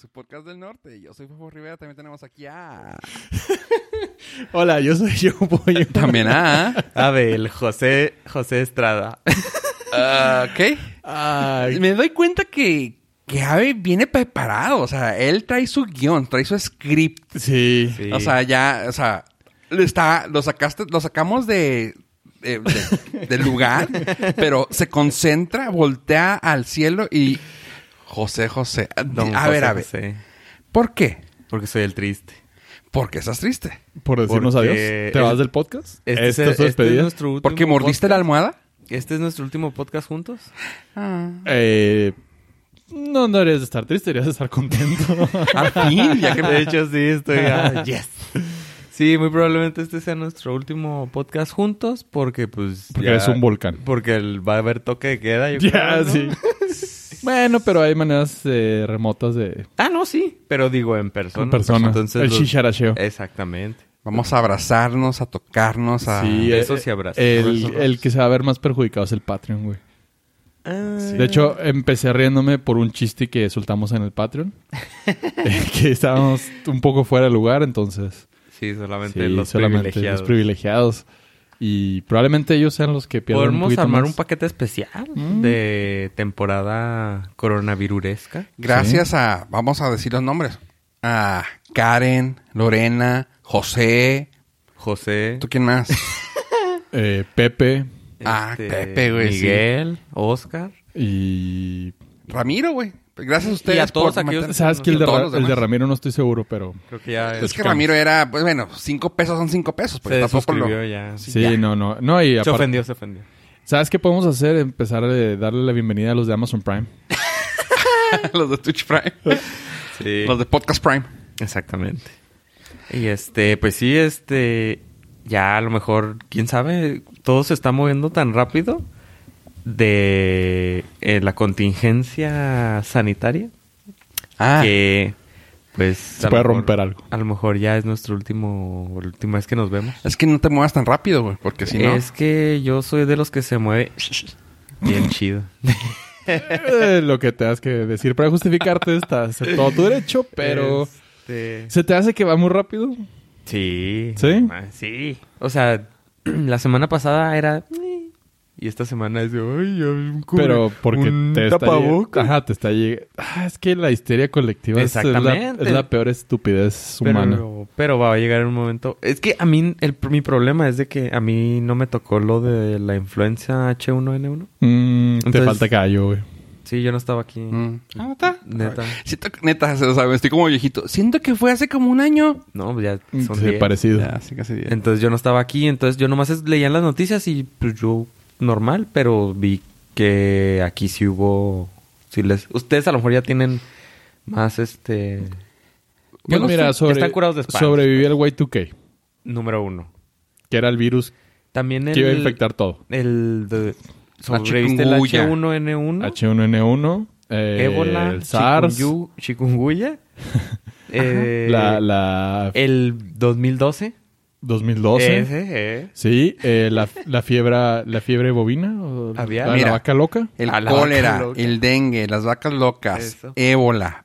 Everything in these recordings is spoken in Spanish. su podcast del norte. Yo soy Fofo Rivera, también tenemos aquí a... Hola, yo soy yo, Pollo. También a... Abel, José, José Estrada. Ah, ok. Ay, Me doy cuenta que, que Abe viene preparado. O sea, él trae su guión, trae su script. sí. Sí. O sea, ya, o sea, lo está, lo sacaste, lo sacamos de, de- de- del lugar, pero se concentra, voltea al cielo y José José. A Don a ver, José a ver. José, ¿Por qué? porque soy el triste. Porque estás triste. Por decirnos Porque adiós. ¿Te el- vas del podcast? ¿Esta Este, es, es tu este es despedida? nuestro último Porque mordiste la almohada. podcast. ¿Este es nuestro último podcast juntos? Ah. Eh, no, no deberías de estar triste, deberías de estar contento. Al fin, ya que De hecho, sí, estoy... ah, yes. Sí, muy probablemente este sea nuestro último podcast juntos porque, pues... Porque ya- es un volcán. Porque el- va a haber toque de queda, yo Ya, creo, ¿no? sí. bueno, pero hay maneras eh, remotas de... Ah, no, sí. Pero digo, en persona. Con personas. Entonces, el los- Eh, chicharacheo. Exactamente. Ah, vamos a abrazarnos, a tocarnos, a. Sí, eso eh, sí abraza. El, Eso- el que se va a ver más perjudicado es el Patreon, güey. Ah, De hecho, empecé riéndome por un chiste que soltamos en el Patreon. eh, que estábamos un poco fuera de lugar, entonces... Sí, solamente Sí, los solamente privilegiados. los privilegiados. Y probablemente ellos sean los que pierdan un Podemos poquito armar más. un paquete especial Mm. de temporada coronaviruresca. Gracias a, vamos a decir los nombres, a Karen, Lorena, José, José, ¿tú quién más? Eh, Pepe Ah, Pepe, güey, sí. este, Miguel, Oscar. y... Ramiro, güey. Gracias a ustedes Y a todos aquellos- matar- ¿Sabes que el de, Todos Ra- los el de demás. Ramiro no estoy seguro, pero... Creo que ya Es que Chicamos. Ramiro era, pues bueno, cinco pesos son cinco pesos, porque se tampoco lo. suscribió ya. Sí, no, no. No, y Se aparte... ofendió, se ofendió. ¿Sabes qué podemos hacer? Empezar a darle la bienvenida a los de Amazon Prime. los de Twitch Prime. Sí. los de Podcast Prime. Exactamente. Y este, pues sí, este, ya a lo mejor, quién sabe, todo se está moviendo tan rápido de eh, la contingencia sanitaria Ah, que, pues, Se a lo puede mejor- romper algo. A lo mejor ya es nuestro último, la última vez que nos vemos. es que no te muevas tan rápido, güey, porque si no. Es que yo soy de los que se mueve bien chido. Eh, lo que te das que decir para justificarte está es todo tu derecho, pero... Este, ¿Se te hace que va muy rápido? Sí. ¿Sí? Ah, Sí. O sea, la semana pasada era... "Eh", Y esta semana es de... Ay, ya, un cubre- Pero porque un te está... lleg- tapabocas". Ajá, te está llegando... es que la histeria colectiva es la- Es, Exactamente. la, peor estupidez humana. Pero, pero va a llegar un momento... Es que a mí... El, mi problema es de que a mí no me tocó lo de la influenza H1N1. Mm, te Entonces- falta callo, güey. Sí, yo no estaba aquí. Mm. Ah, ¿neta? Neta. Siento que- neta, se lo sabe, estoy como viejito. Siento que fue hace como un año. No, pues ya son Sí, 10. parecido. Ya, sí, casi diez. Entonces yo no estaba aquí, entonces yo nomás es- leía las noticias y pues yo normal, pero vi que aquí sí hubo... sí les, ustedes a lo mejor ya tienen más este... Bueno, no mira, sé, sobre- están curados de espaldas. sobrevivió el Y2K, Número uno. que era el virus También el... que iba a infectar todo. El... de- sobreviviste el chikungunya. H1N1. H1N1, eh, ébola. el SARS, chikungu- Chikungunya. eh, la, la El 2012. 2012. Ese, eh. Sí, eh, la, la fiebre la fiebre bovina, o la, Aviar. la Mira. vaca loca. El A la vaca cólera, loca. el dengue, las vacas locas, Eso. ébola,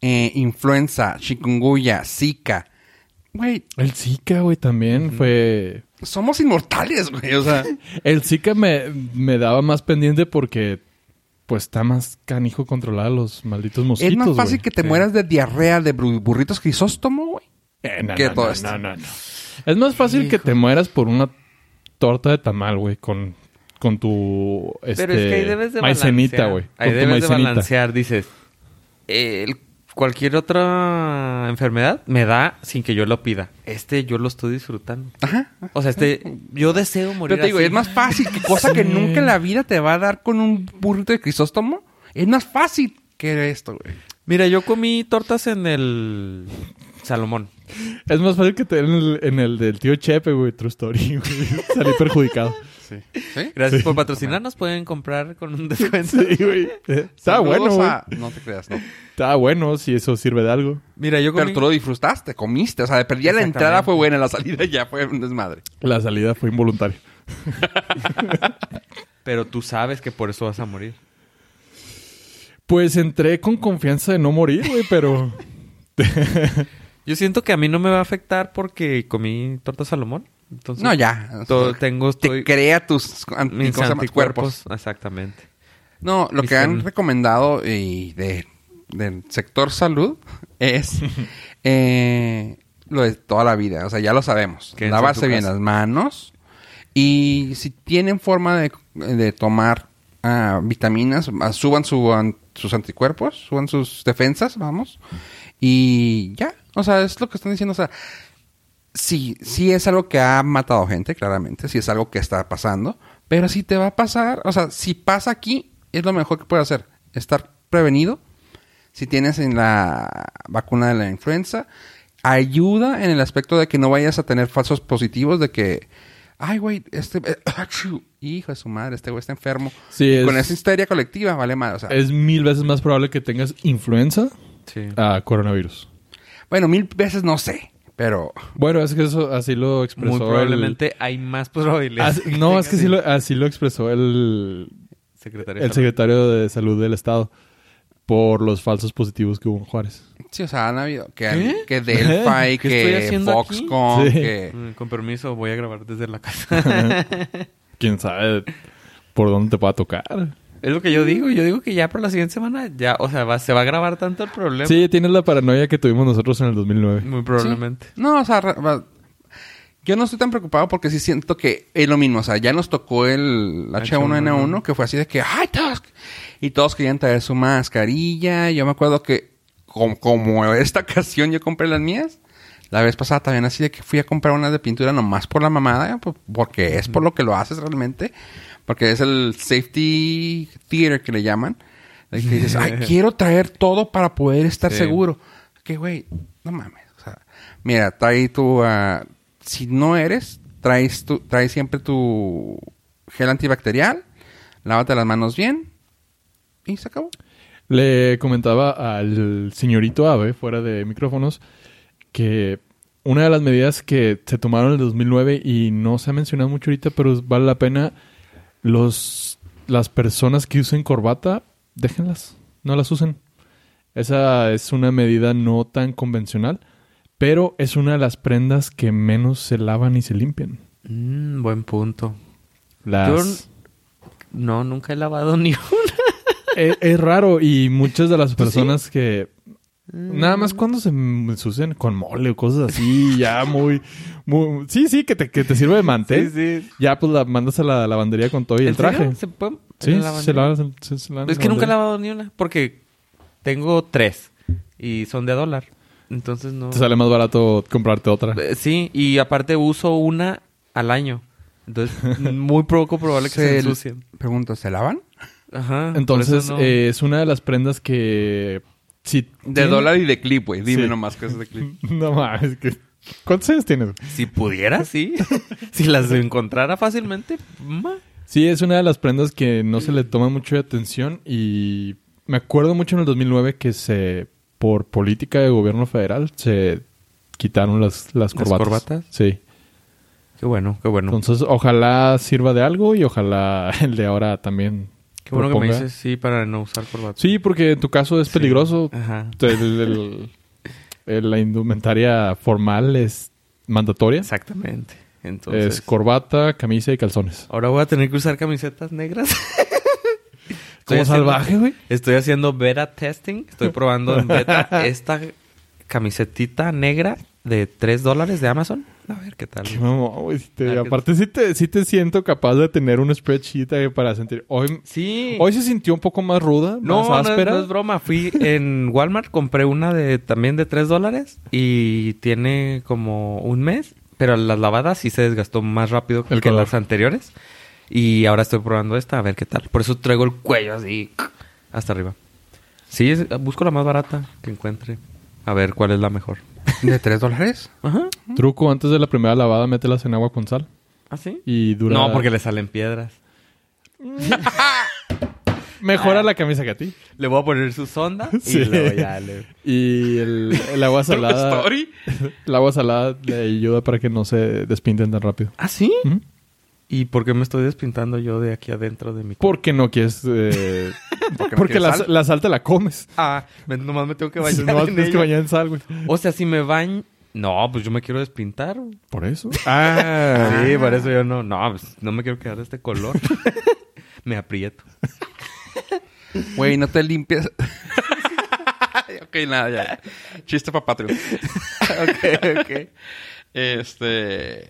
eh, influenza, chikungunya, zika. Güey, El Zika, güey, también fue... somos inmortales, güey. O sea, El Zika me, me daba más pendiente porque pues está más canijo controlar a los malditos mosquitos, es más fácil güey. que te Sí. mueras de diarrea de bru- burritos crisóstomo, güey. Eh, no, que no, todo no, esto. no, no, no. Es más fácil que te mueras por una torta de tamal, güey, con, con tu este, Pero es que ahí debes de maicenita, balancear. güey. con Ahí tu debes de maicenita. balancear, dices. el- cualquier otra enfermedad me da sin que yo lo pida. Este yo lo estoy disfrutando. Ajá. O sea, este yo deseo morir. Pero te digo, así. es más fácil. que cosa que nunca en la vida te va a dar con un burrito de crisóstomo. Es más fácil que esto, güey. Mira, yo comí tortas en el Salomón. Es más fácil que te den en el, en el del tío Chepe, güey. True story, güey. Salí perjudicado. ¿Sí? Gracias por patrocinarnos. Pueden comprar con un descuento. Sí, güey. Eh, Está Saludos bueno, güey. a- No te creas, no. Está bueno si eso sirve de algo. Mira, yo Pero comí. tú lo disfrutaste, comiste. O sea, perdí la Exactamente. entrada, fue buena. La salida ya fue un desmadre. La salida fue involuntaria. Pero tú sabes que por eso vas a morir. Pues entré con confianza de no morir, güey, pero. Yo siento que a mí no me va a afectar porque comí torta salomón. Entonces, No, ya. to- tengo Te estoy, crea tus an- mis ¿cómo se llama? anticuerpos. Exactamente. No, lo que Mis han tem- recomendado y de, del sector salud es eh, lo de toda la vida. O sea, ya lo sabemos. Quédense en Lavarse tu bien casa. las manos. Y si tienen forma de, de tomar ah, vitaminas, ah, suban su an- sus anticuerpos, suban sus defensas, vamos. Y ya. O sea, es lo que están diciendo. O sea, sí, sí es algo que ha matado gente, claramente, sí es algo que está pasando, pero si te va a pasar, o sea, si pasa aquí, es lo mejor que puedes hacer, estar prevenido. Si tienes en la vacuna de la influenza, ayuda en el aspecto de que no vayas a tener falsos positivos de que, ay, güey, este, achú, hijo de su madre, este güey está enfermo. Sí, es- Con esa histeria colectiva, vale madre, o sea, Es mil veces más probable que tengas influenza Sí. a coronavirus. bueno, mil veces no sé, pero Bueno, es que eso así lo expresó. Muy el- probablemente hay más probabilidades. Así- no, es que sí lo- así lo expresó el, Secretario. el secretario de Salud del Estado por los falsos positivos que hubo en Juárez. sí, o sea, han habido que, ¿Qué? que Delphi, ¿Qué que estoy haciendo aquí? Foxconn, Sí. que... Mm, Con permiso, voy a grabar desde la casa. Quién sabe por dónde te va a tocar. es lo que yo digo. Yo digo que ya por la siguiente semana, ya, o sea, va- se va a grabar tanto el problema. Sí, tienes la paranoia que tuvimos nosotros en el 2009. Muy probablemente. No, o sea, ra- va- yo no estoy tan preocupado porque sí siento que es lo mismo. O sea, ya nos tocó el H1N1, que fue así de que, ¡ay, todos! Y todos querían traer su mascarilla. Yo me acuerdo que, com- como esta ocasión yo compré las mías, la vez pasada también así de que fui a comprar unas de pintura nomás por la mamada, po- porque es por lo que lo haces realmente. Porque es el safety theater que le llaman. De que dices, ay, quiero traer todo para poder estar Sí. seguro. Que, güey, no mames. O sea, mira, trae tu... ah, si no eres, traes, tu, traes siempre tu gel antibacterial, lávate las manos bien y se acabó. Le comentaba al señorito Ave, fuera de micrófonos, que una de las medidas que se tomaron en el 2009 y no se ha mencionado mucho ahorita, pero vale la pena, los, las personas que usen corbata, déjenlas, no las usen. Esa es una medida no tan convencional, pero es una de las prendas que menos se lavan y se limpian. Mm, buen punto. Las... No, nunca he lavado ni una. es, es raro y muchas de las Pues personas que Mm. nada más cuando se ensucian con mole o cosas así ya muy, muy sí sí que te, que te sirve de mantel sí. ya pues la mandas a la lavandería con todo y el traje ¿Se puede? sí ¿En la se bandera? lavan se- se lavan Es en que nunca he lavandería. lavado ni una. Porque tengo tres. Y son de a dólar. Entonces no. te sale más barato comprarte otra Eh, Sí, y aparte uso una al año. Entonces, muy poco probable que se, ensucien. Pregunto, ¿se lavan? Ajá. por entonces eso no- eh, es una de las prendas que si De tien- dólar y de clip, güey. Dime Sí. nomás que es de clip. no mames que cuántos años tienes Si pudiera, sí. si las encontrara fácilmente, ma. Sí, es una de las prendas que no se le toma mucho de atención y me acuerdo mucho en el 2009 que se, por política de gobierno federal, se quitaron las, las ¿Las corbatas. corbatas? Sí. Qué bueno, qué bueno. Entonces, ojalá sirva de algo y ojalá el de ahora también. qué bueno que me proponga. dices sí para no usar corbata. Sí, porque en tu caso es peligroso. Ajá. El- el- el- la indumentaria formal es mandatoria. Exactamente. Entonces, es corbata, camisa y calzones. ahora voy a tener que usar camisetas negras. Estoy Como haciendo- salvaje, güey. Estoy haciendo beta testing. Estoy probando en beta esta camisetita negra de 3 dólares de Amazon. A ver qué tal. Qué mamón, güey. Si te- Ah, que- aparte, sí te, sí te siento capaz de tener un spreadsheet ahí para sentir. Hoy, Sí. hoy se sintió un poco más ruda, no, no, más áspera. no es broma. Fui en Walmart, compré una de también de 3 dólares y tiene como un mes, pero las lavadas sí se desgastó más rápido El que color. las anteriores. Y ahora estoy probando esta, a ver qué tal. Por eso traigo el cuello así hasta arriba. Sí, es- busco la más barata que encuentre. A ver cuál es la mejor. ¿De tres dólares? Ajá. Truco, antes de la primera lavada, mételas en agua con sal. ¿Así? Y dura. ¿Ah, No, porque le salen piedras. Ah. Mejora la camisa que a ti. Le voy a poner su sonda Sí. y luego ya le... Y el, el agua salada. Story. el agua salada le ayuda para que no se despinten tan rápido. ¿Mm? ¿Ah, sí? Ujú. ¿Y por qué me estoy despintando yo de aquí adentro de mi cuerpo? Porque no quieres eh, Porque, no Porque quiere la, sal. la sal te la comes. Ah, me- nomás me tengo que Entonces, bañar. no en tienes que ella. bañar en sal, güey. O sea, si me baño. No, pues yo me quiero despintar. güey. Por eso. Ah. Sí, por eso yo no. No, pues no me quiero quedar de este color. me aprieto. Güey, no te limpias. ok, nada, ya. Chiste para Patreon. ok, ok. Este.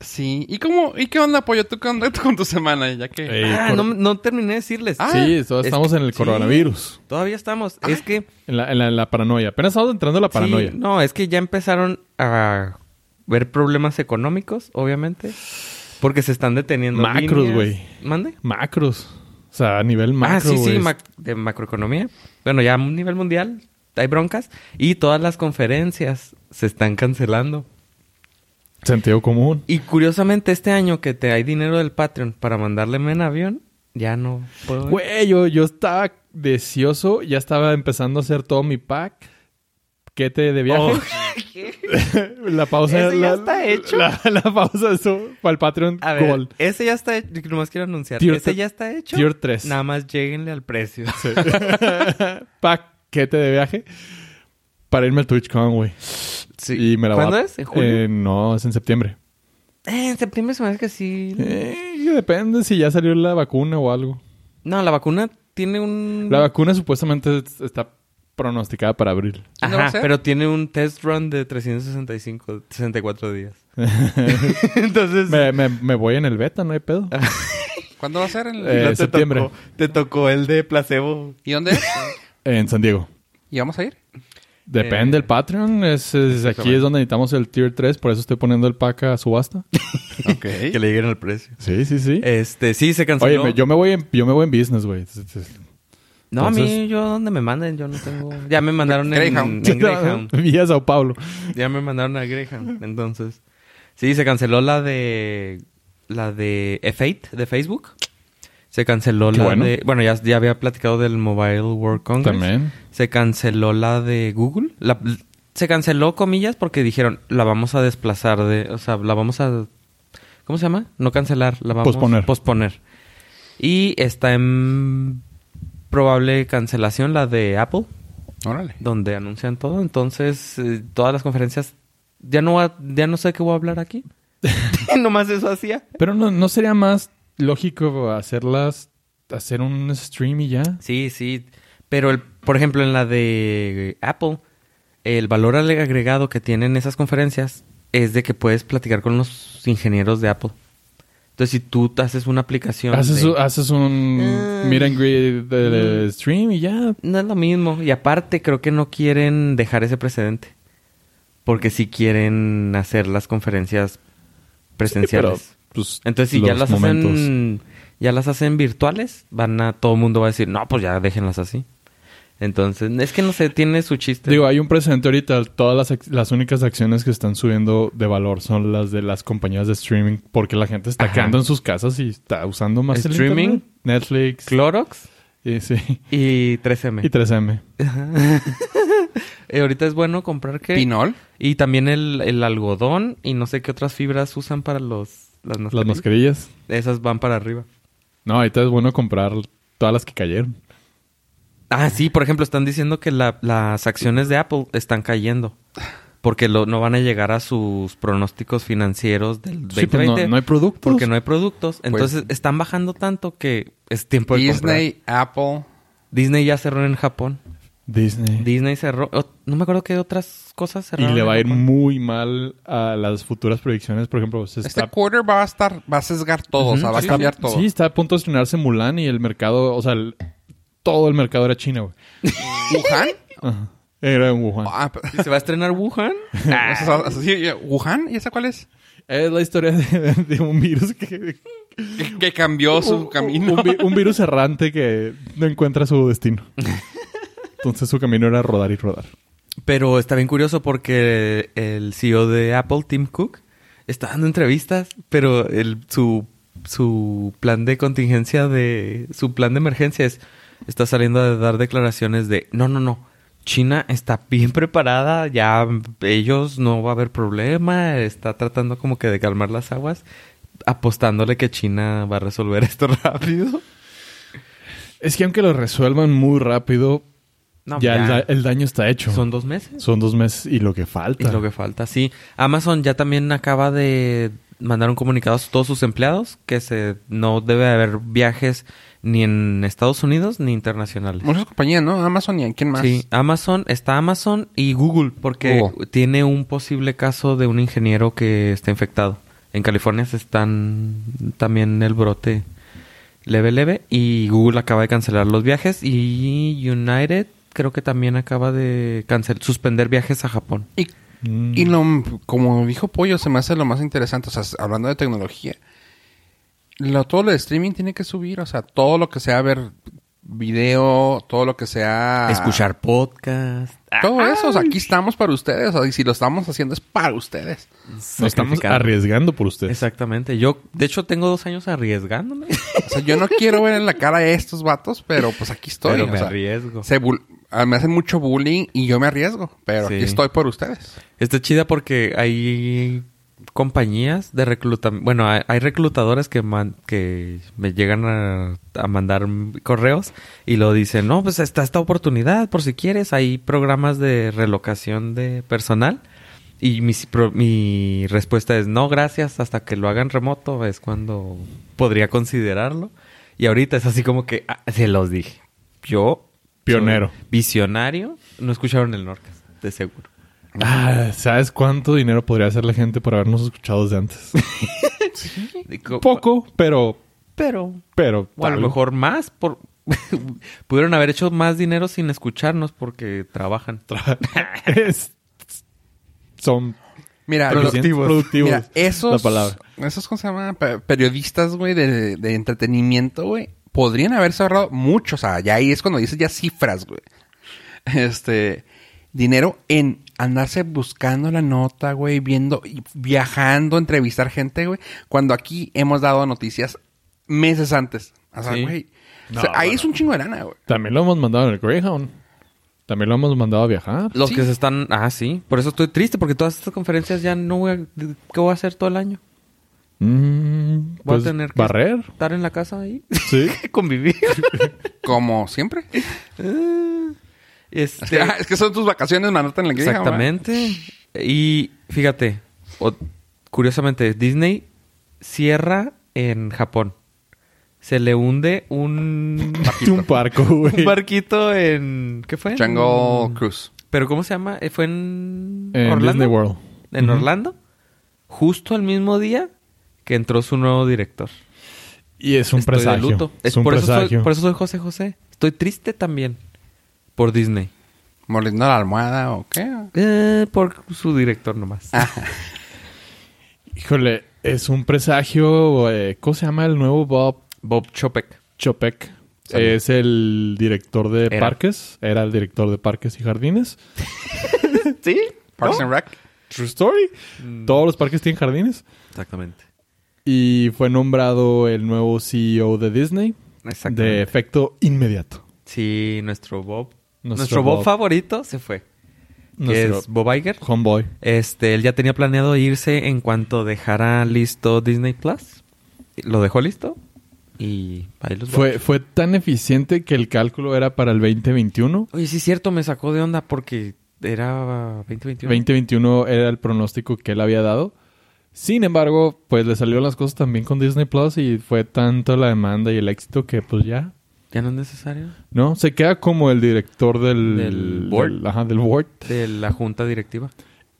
Sí. ¿Y cómo? ¿Y qué onda, Pollo? ¿Tú qué onda tú con tu semana? Ya que. Ey, ah, cor- no, no terminé de decirles. Ah, sí, todavía es- estamos en el sí. coronavirus. Todavía estamos. Es que. En la, en la- en la paranoia. Apenas estamos entrando a la Ah, paranoia. Sí, no, es que ya empezaron a ver problemas económicos, obviamente. Porque se están deteniendo. Macros, líneas. güey. ¿Mande? Macros. O sea, a nivel macro, ah, sí, sí, güey. mac- de macroeconomía. Bueno, ya a un nivel mundial hay broncas. Y todas las conferencias se están cancelando. Sentido común. Y curiosamente, este año que te hay dinero del Patreon para mandarle en avión, ya no puedo. Güey, yo, yo estaba deseoso. Ya estaba empezando a hacer todo mi pack. ¿Qué te de viaje? oh, la pausa. Eso ya la- está hecho. La, la pausa eso para el Patreon A ver, Gold. ese ya está hecho. Nomás quiero anunciar. Tier ese tre- ya está hecho. tier tres. Nada más lleguenle al precio. Paquete de viaje para irme al TwitchCon, güey. Sí. Y me la voy a- ¿Cuándo es? ¿En julio? Eh, no, es en septiembre. Eh, en septiembre se me hace que sí. Eh, depende si ya salió la vacuna o algo. No, la vacuna tiene un. La vacuna supuestamente es- está pronosticada para abril. ¿No va a Ajá, ser? pero tiene un test run de 365, 64 días. Entonces. Me, me- me voy en el beta, no hay pedo. ¿Cuándo va a ser? El... Eh, no te septiembre. tocó- te tocó el de placebo. ¿Y dónde es? En San Diego. ¿Y vamos a ir? Depende Eh. el Patreon. Es, es- aquí es donde necesitamos el Tier 3. Por eso estoy poniendo el pack a subasta. Ok. Que le lleguen al precio. Sí, sí, sí. Este, sí, se canceló. Oye, me- yo, me voy en, yo me voy en business, güey. No, a mí, Entonces- yo donde me manden, yo no tengo. Ya me mandaron en Greyhound. en Greyhound. Vía Sao Paulo. Ya me mandaron a Greyhound. Entonces. Sí, se canceló la de. La de F8 de Facebook. Se canceló Qué la bueno. de. Bueno, ya, ya había platicado del Mobile World Congress. También. Se canceló la de Google. La- se canceló, comillas, porque dijeron, la vamos a desplazar de... O sea, la vamos a... ¿Cómo se llama? No cancelar, la vamos Posponer. posponer. Y está en probable cancelación la de Apple, Órale. donde anuncian todo. Entonces, eh, todas las conferencias... Ya no, va- ya no sé qué voy a hablar aquí. Nomás eso hacía. Pero no, no sería más lógico hacerlas, hacer un stream y ya. Sí, sí. Pero, el, por ejemplo, en la de Apple, el valor ale- agregado que tienen esas conferencias es de que puedes platicar con los ingenieros de Apple. Entonces, si tú te haces una aplicación... Haces, de- un- haces un Ah. meet and greet de, de stream y ya. No es lo mismo. Y aparte, creo que no quieren dejar ese precedente. Porque sí quieren hacer las conferencias presenciales. Sí, pero, pues, Entonces, si ya los las momentos. hacen este ya las hacen virtuales, van a todo el mundo va a decir, "No, pues ya déjenlas así." Entonces, es que no sé, tiene su chiste. Digo, hay un precedente ahorita. Todas las, ac- las únicas acciones que están subiendo de valor son las de las compañías de streaming. Porque la gente está Ajá. quedando en sus casas y está usando más el Streaming. internet. Netflix. Clorox Y, sí. y y 3M. 3M. Eh, ahorita es bueno comprar que ¿Pinol? y también el, el algodón y no sé qué otras fibras usan para los las Las mascarillas. mascarillas. Esas van para arriba. No, ahorita es bueno comprar todas las que cayeron. Ah, sí, por ejemplo, están diciendo que la- las acciones de Apple están cayendo. Porque lo- no van a llegar a sus pronósticos financieros del Sí, pues, 2020. no, no hay productos. Porque no hay productos. Entonces están bajando tanto que es tiempo de comprar. Disney, Apple. Disney ya cerró en Japón. Disney. Disney Ah, cerró. oh, no me acuerdo qué otras cosas Y cerraron. le en va a ir Japón. muy mal a las futuras proyecciones. Por ejemplo, se Este está, quarter va a estar, va a sesgar todo, o sea, va a está- cambiar todo. Sí, está a punto de estrenarse Mulan y el mercado, o sea, el- todo el mercado era China, güey. ¿Wuhan? Ajá. Era en Wuhan. Ah, pero- ¿Y ¿Se va a estrenar Wuhan? Eso es- eso sí, ya- ¿Wuhan? ¿Y esa cuál es? Es la historia de, de un virus que... Que, que cambió su un- camino. Un, vi- un virus errante que no encuentra su destino. Entonces su camino era rodar y rodar. Pero está bien curioso porque el CEO de Apple, Tim Cook, está dando entrevistas, pero el, su, su plan de contingencia de... Su plan de emergencia es... Está saliendo a dar declaraciones de... No, no, no. China está bien preparada. Ya ellos no va a haber problema. Está tratando como que de calmar las aguas. Apostándole que China va a resolver esto rápido. Es que aunque lo resuelvan muy rápido, No, ya, ya. El, da- el daño está hecho. Son dos meses. Son dos meses y lo que falta. Y lo que falta, sí. Amazon ya también acaba de mandar un comunicado a todos sus empleados que se no debe haber viajes ni en Estados Unidos ni internacionales. uh. Muchas compañías, ¿no? Amazon y quién más. Sí, Amazon, está Amazon y Google, porque Google. tiene un posible caso de un ingeniero que está infectado. En California se están también el brote leve, leve, y Google acaba de cancelar los viajes y United creo que también acaba de cancel suspender viajes a Japón. Y, Mm. y lo, como dijo Pollo, se me hace lo más interesante. O sea, hablando de tecnología, lo, todo lo de streaming tiene que subir. O sea, todo lo que sea ver video, todo lo que sea. Escuchar podcast. Todo eso. O sea, aquí estamos para ustedes. O sea, y si lo estamos haciendo es para ustedes. Nos estamos arriesgando por ustedes. Exactamente. Yo, de hecho, tengo dos años arriesgándome. O sea, yo no quiero ver en la cara a estos vatos, pero pues aquí estoy. Pero o me sea, arriesgo. se bul- ah, me hacen mucho bullying y yo me arriesgo, pero Sí. aquí estoy por ustedes. Está chida porque hay compañías de reclutamiento. Bueno, hay, hay reclutadores que, man- que me llegan a, a mandar correos y lo dicen: No, pues está esta oportunidad, por si quieres. Hay programas de relocación de personal. Y mi, pro- mi respuesta es: No, gracias. Hasta que lo hagan remoto es cuando podría considerarlo. Y ahorita es así como que ah, se los dije. Yo. Pionero. soy Visionario. No escucharon el Norcas, de seguro. Ah, ¿Sabes cuánto dinero podría hacer la gente por habernos escuchado desde antes? De co- Poco, pero. Pero. Pero. O a lo tal. mejor más. Por... Pudieron haber hecho más dinero sin escucharnos porque trabajan. Es- son Mira, Pero lo- sí, productivos, mira, esos, la palabra. esos ¿cómo se llama? Pe- periodistas, güey, de, de entretenimiento, güey, podrían haberse ahorrado mucho. O sea, ya ahí es cuando dices ya cifras, güey. Este, dinero en andarse buscando la nota, güey, viendo, y viajando, entrevistar gente, güey, cuando aquí hemos dado noticias meses antes. O sea, Sí. güey. o No, sea, ahí bueno. es un chingo de lana, güey. También lo hemos mandado en el Greyhound. También lo hemos mandado a viajar. Los Sí. que se están. Ah, sí. Por eso estoy triste porque todas estas conferencias ya no voy a. ¿Qué voy a hacer todo el año? Mm, Voy pues, a tener que barrer. estar en la casa ahí. Sí. Convivir. Como siempre. Este, Es que, ah, es que son tus vacaciones, manota en la que diga, ¿verdad? Exactamente. Y fíjate, o- curiosamente, Disney cierra en Japón. Se le hunde un un parco, güey. un barquito en. ¿Qué fue? Jungle Cruise. ¿Pero cómo se llama? Eh, ¿Fue en, En Orlando? Disney World. En Ujú. Orlando. Justo el mismo día que entró su nuevo director. Y es un Estoy de presagio. luto. Es, Es un por, eso presagio. soy, por eso soy José José. Estoy triste también. Por Disney. ¿Mordiendo la almohada o qué? Eh, por su director nomás. Híjole, es un presagio. eh, ¿Cómo se llama el nuevo Bob Bob Chopek. Chopek? Salud. Es el director de Era. parques. Era el director de parques y jardines. ¿Sí? Parks and Rec. True story. Mm. Todos los parques tienen jardines. Exactamente. Y fue nombrado el nuevo CEO de Disney. Exactamente. De efecto inmediato. Sí, nuestro Bob. Nuestro, Nuestro Bob, Bob. favorito se fue. Que Nuestro es Bob Iger. homeboy. Este, él ya tenía planeado irse en cuanto dejara listo Disney Plus. Lo dejó listo y ahí los Fue, veo. fue tan eficiente que el cálculo era para el 2021. Oye, sí es cierto, me sacó de onda porque era 2021. 2021 era el pronóstico que él había dado. Sin embargo, pues le salieron las cosas también con Disney Plus y fue tanto la demanda y el éxito que pues ya, Ya no es necesario. ¿no? Se queda como el director del... Del board. del- ajá, del board. De la junta directiva.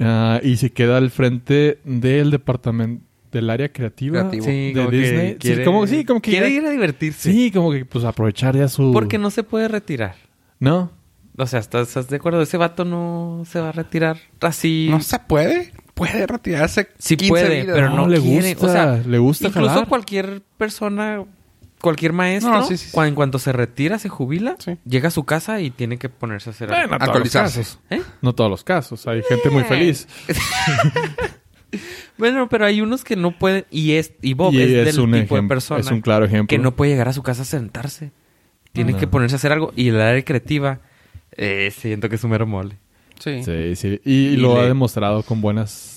Ah, y se queda al frente del departamento, del área creativa Ah, Creativo. de Disney. Sí, como, sí, como que... quiere ya- ir a divertirse. sí, como que pues aprovechar ya su... Porque no se puede retirar. No. O sea, ¿estás, estás de acuerdo? Ese vato no se va a retirar así. No se puede. Puede retirarse. Sí 15 puede, vidas. pero No, no, le quiere. gusta, o sea, le gusta Incluso jalar. cualquier persona, cualquier maestro, No, sí, sí, sí. cua- en cuanto se retira, se jubila, Sí. llega a su casa y tiene que ponerse a hacer Eh, algo. no todos los Alcoholizarse. casos. ¿Eh? No todos los casos. Hay gente muy feliz. Bueno, pero hay unos que no pueden. Y es y Bob Y es, del tipo de ejem- persona es un claro ejemplo. que no puede llegar a su casa a sentarse. Tiene No. que ponerse a hacer algo. Y el área creativa, eh, siento que es un mero mole. Sí. Sí, sí. Y, Y lo le- ha demostrado con buenas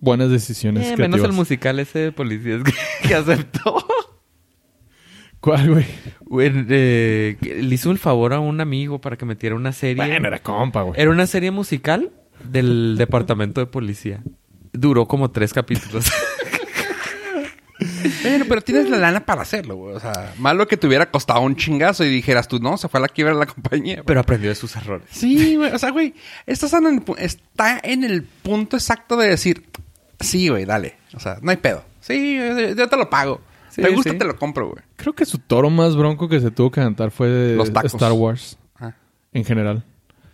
buenas decisiones Eh, creativas. menos el musical ese de policías que, que aceptó. ¿Cuál, güey? Güey, eh, le hizo el favor a un amigo para que metiera una serie. Bueno, era compa, güey. Era una serie musical del departamento de policía. Duró como tres capítulos. Bueno, pero tienes la lana para hacerlo, güey. O sea, malo que te hubiera costado un chingazo y dijeras tú, no, se fue a la quiebra de la compañía. güey. pero aprendió de sus errores. Sí, güey. O sea, güey, estás en el pu- está en el punto exacto de decir, sí, güey, dale. O sea, no hay pedo. Sí, yo, yo te lo pago. Sí, te gusta, sí. te lo compro, güey. Creo que su toro más bronco que se tuvo que aventar fue de Los tacos. Star Wars Ajá. en general.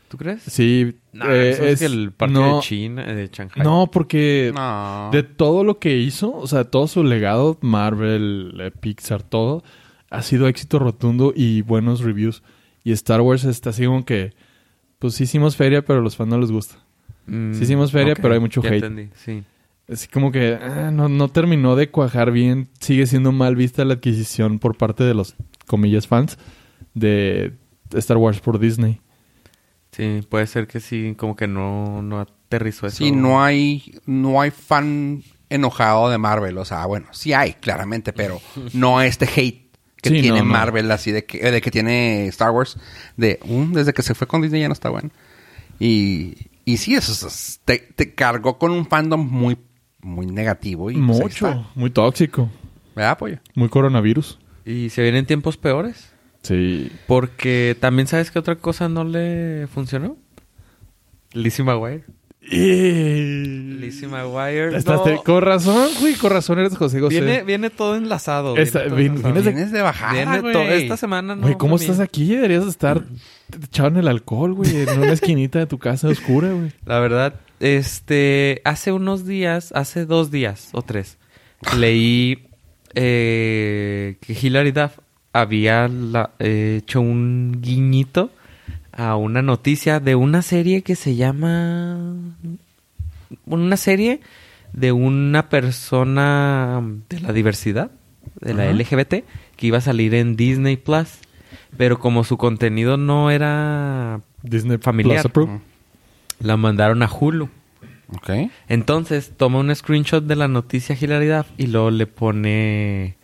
¿Tú crees? Sí. No, eh, eso es, es- el parque no, de China, eh, de Shanghai. No, porque No. de todo lo que hizo, o sea, todo su legado, Marvel, eh, Pixar, todo, ha sido éxito rotundo y buenos reviews. Y Star Wars está así como que, pues sí hicimos feria, pero a los fans no les gusta. Mm, Sí hicimos feria, ok, pero hay mucho ya hate. entendí, sí. Así como que ah, no, no terminó de cuajar bien. Sigue siendo mal vista la adquisición por parte de los, comillas, fans de Star Wars por Disney. Sí, puede ser que sí, como que no, no aterrizó eso. Sí, no hay, no hay fan enojado de Marvel. O sea, bueno, sí hay, claramente, pero no este hate que Sí, tiene no, no. Marvel, así de que, de que tiene Star Wars, de "Mm, desde que se fue con Disney ya no está bueno. Y, y sí, eso es- es- te, te cargó con un fandom muy, muy negativo. Y, pues, ahí está. Mucho, muy tóxico, ¿Verdad, pollo? muy coronavirus. Y se vienen tiempos peores. Sí. Porque también sabes que otra cosa no le funcionó. Lizzie McGuire. Lizzie McGuire. Estás no. Con razón, güey, con razón eres José José. Viene, viene todo enlazado. Esta- todo vin- enlazado. vienes de- Vienes de bajada, Viene güey. to- Esta semana no. Güey, ¿cómo fue bien. estás aquí? Deberías estar echado en el alcohol, güey, en una esquinita de tu casa oscura, güey. La verdad, este, hace unos días, hace dos días o tres, leí eh, que Hilary Duff había la- eh, hecho un guiñito a una noticia de una serie que se llama... Una serie de una persona de la diversidad, de la Ajá. LGBT, que iba a salir en Disney Plus. Pero como su contenido no era Disney Familiar. Plus approved. la mandaron a Hulu. Mm, Ok. Entonces toma un screenshot de la noticia Hilary Duff y luego le pone.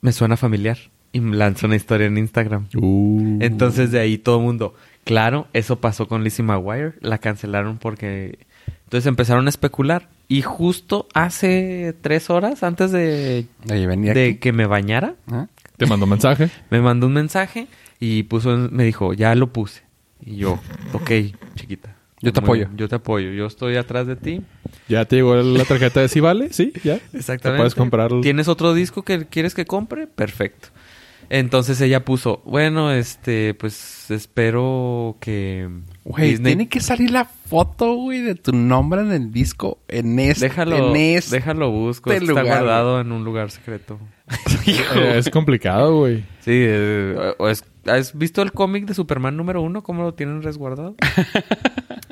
Me suena familiar. Y lanza una historia en Instagram. Uh. Entonces de ahí todo el mundo. Claro, eso pasó con Lizzie McGuire. La cancelaron porque. Entonces empezaron a especular. Y justo hace tres horas antes de, De venir aquí. de que me bañara, ¿Ah? Uh, Te mando mensaje. me mandó un mensaje y puso, en- me dijo, ya lo puse. Y yo, ok, chiquita. Yo te Muy apoyo. bien, Yo te apoyo. Yo estoy atrás de ti. Ya te llegó la tarjeta de si vale, sí, ya. Exactamente. Te puedes comprar. el- ¿Tienes otro disco que quieres que compre? Perfecto. Entonces ella puso, bueno, este, pues espero que Güey, Disney- tiene que salir la foto, güey, de tu nombre en el disco. En este. déjalo, en este. déjalo busco, este está lugar, guardado en un lugar secreto. Eh, es complicado, güey. Sí, eh, o es- ¿has visto el cómic de Superman número uno? ¿Cómo lo tienen resguardado?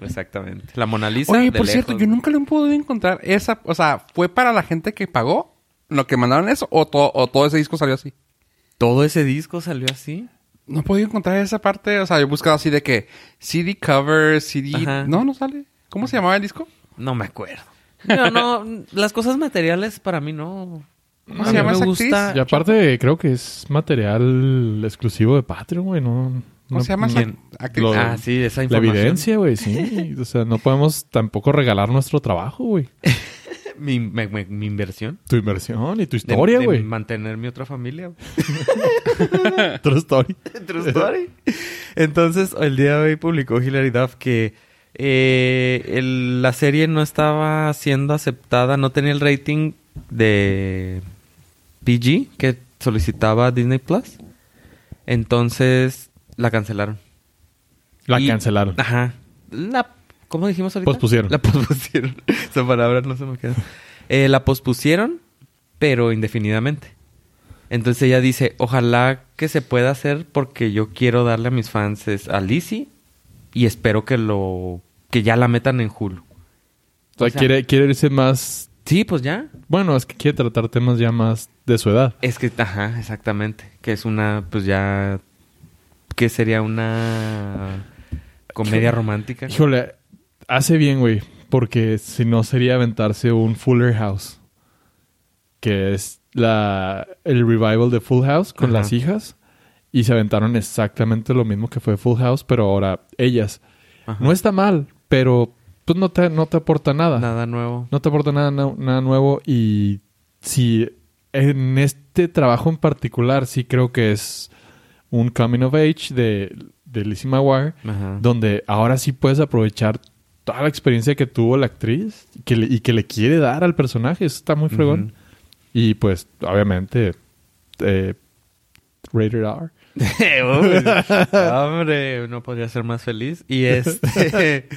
Exactamente. La Mona Lisa. Oye, de por cierto, lejos. yo nunca lo he podido encontrar. Esa, o sea, ¿fue para la gente que pagó lo que mandaron eso o, to- o todo ese disco salió así? Todo ese disco salió así. No he podido encontrar esa parte. O sea, yo he buscado así de que CD cover, CD... Ajá. No, no sale. ¿Cómo se llamaba el disco? No me acuerdo. No, no, las cosas materiales para mí no. ¿Cómo A se mí llama me esa gusta- actriz? Y aparte, creo que es material exclusivo de Patreon, güey. No, ¿Cómo no- se llama no- esa ¿quién? actriz? Lo- Ah, sí, esa La información. evidencia, güey, sí. O sea, no podemos tampoco regalar nuestro trabajo, güey. Mi, me- me- mi inversión. Tu inversión y tu De- historia, de güey. Mantener mi otra familia. True story. True story. Entonces, el día de hoy publicó Hilary Duff que eh, el- la serie no estaba siendo aceptada, no tenía el rating de PG que solicitaba Disney Plus. Entonces, la cancelaron. La Y- Ah, cancelaron. Ajá. La, ¿Cómo dijimos ahorita? Pospusieron. La pospusieron. Esa palabra no se me queda. Eh, la pospusieron, pero indefinidamente. Entonces ella dice, ojalá que se pueda hacer porque yo quiero darle a mis fans es- a Lizzie y espero que lo... que ya la metan en Hulu. O sea, o sea- quiere, quiere irse más. Sí, pues ya. Bueno, es que quiere tratar temas ya más de su edad. Es que, ajá, exactamente. Que es una, pues ya... que sería una... comedia romántica. Híjole, hace bien, güey. Porque si no sería aventarse un Fuller House. Que es la, el revival de Full House con Ajá. las hijas y se aventaron exactamente lo mismo que fue Full House, pero ahora ellas. Ajá. No está mal, pero pues no te, no te aporta nada. Nada nuevo. No te aporta nada, nu- nada nuevo y si en este trabajo en particular sí creo que es un coming of age de, de Lizzie McGuire Ajá. donde ahora sí puedes aprovechar toda la experiencia que tuvo la actriz y que le, y que le quiere dar al personaje. Eso está muy fregón. Ujú. Y pues, obviamente, eh, Rated R. Hombre, no podría ser más feliz. Y este. Que, ve-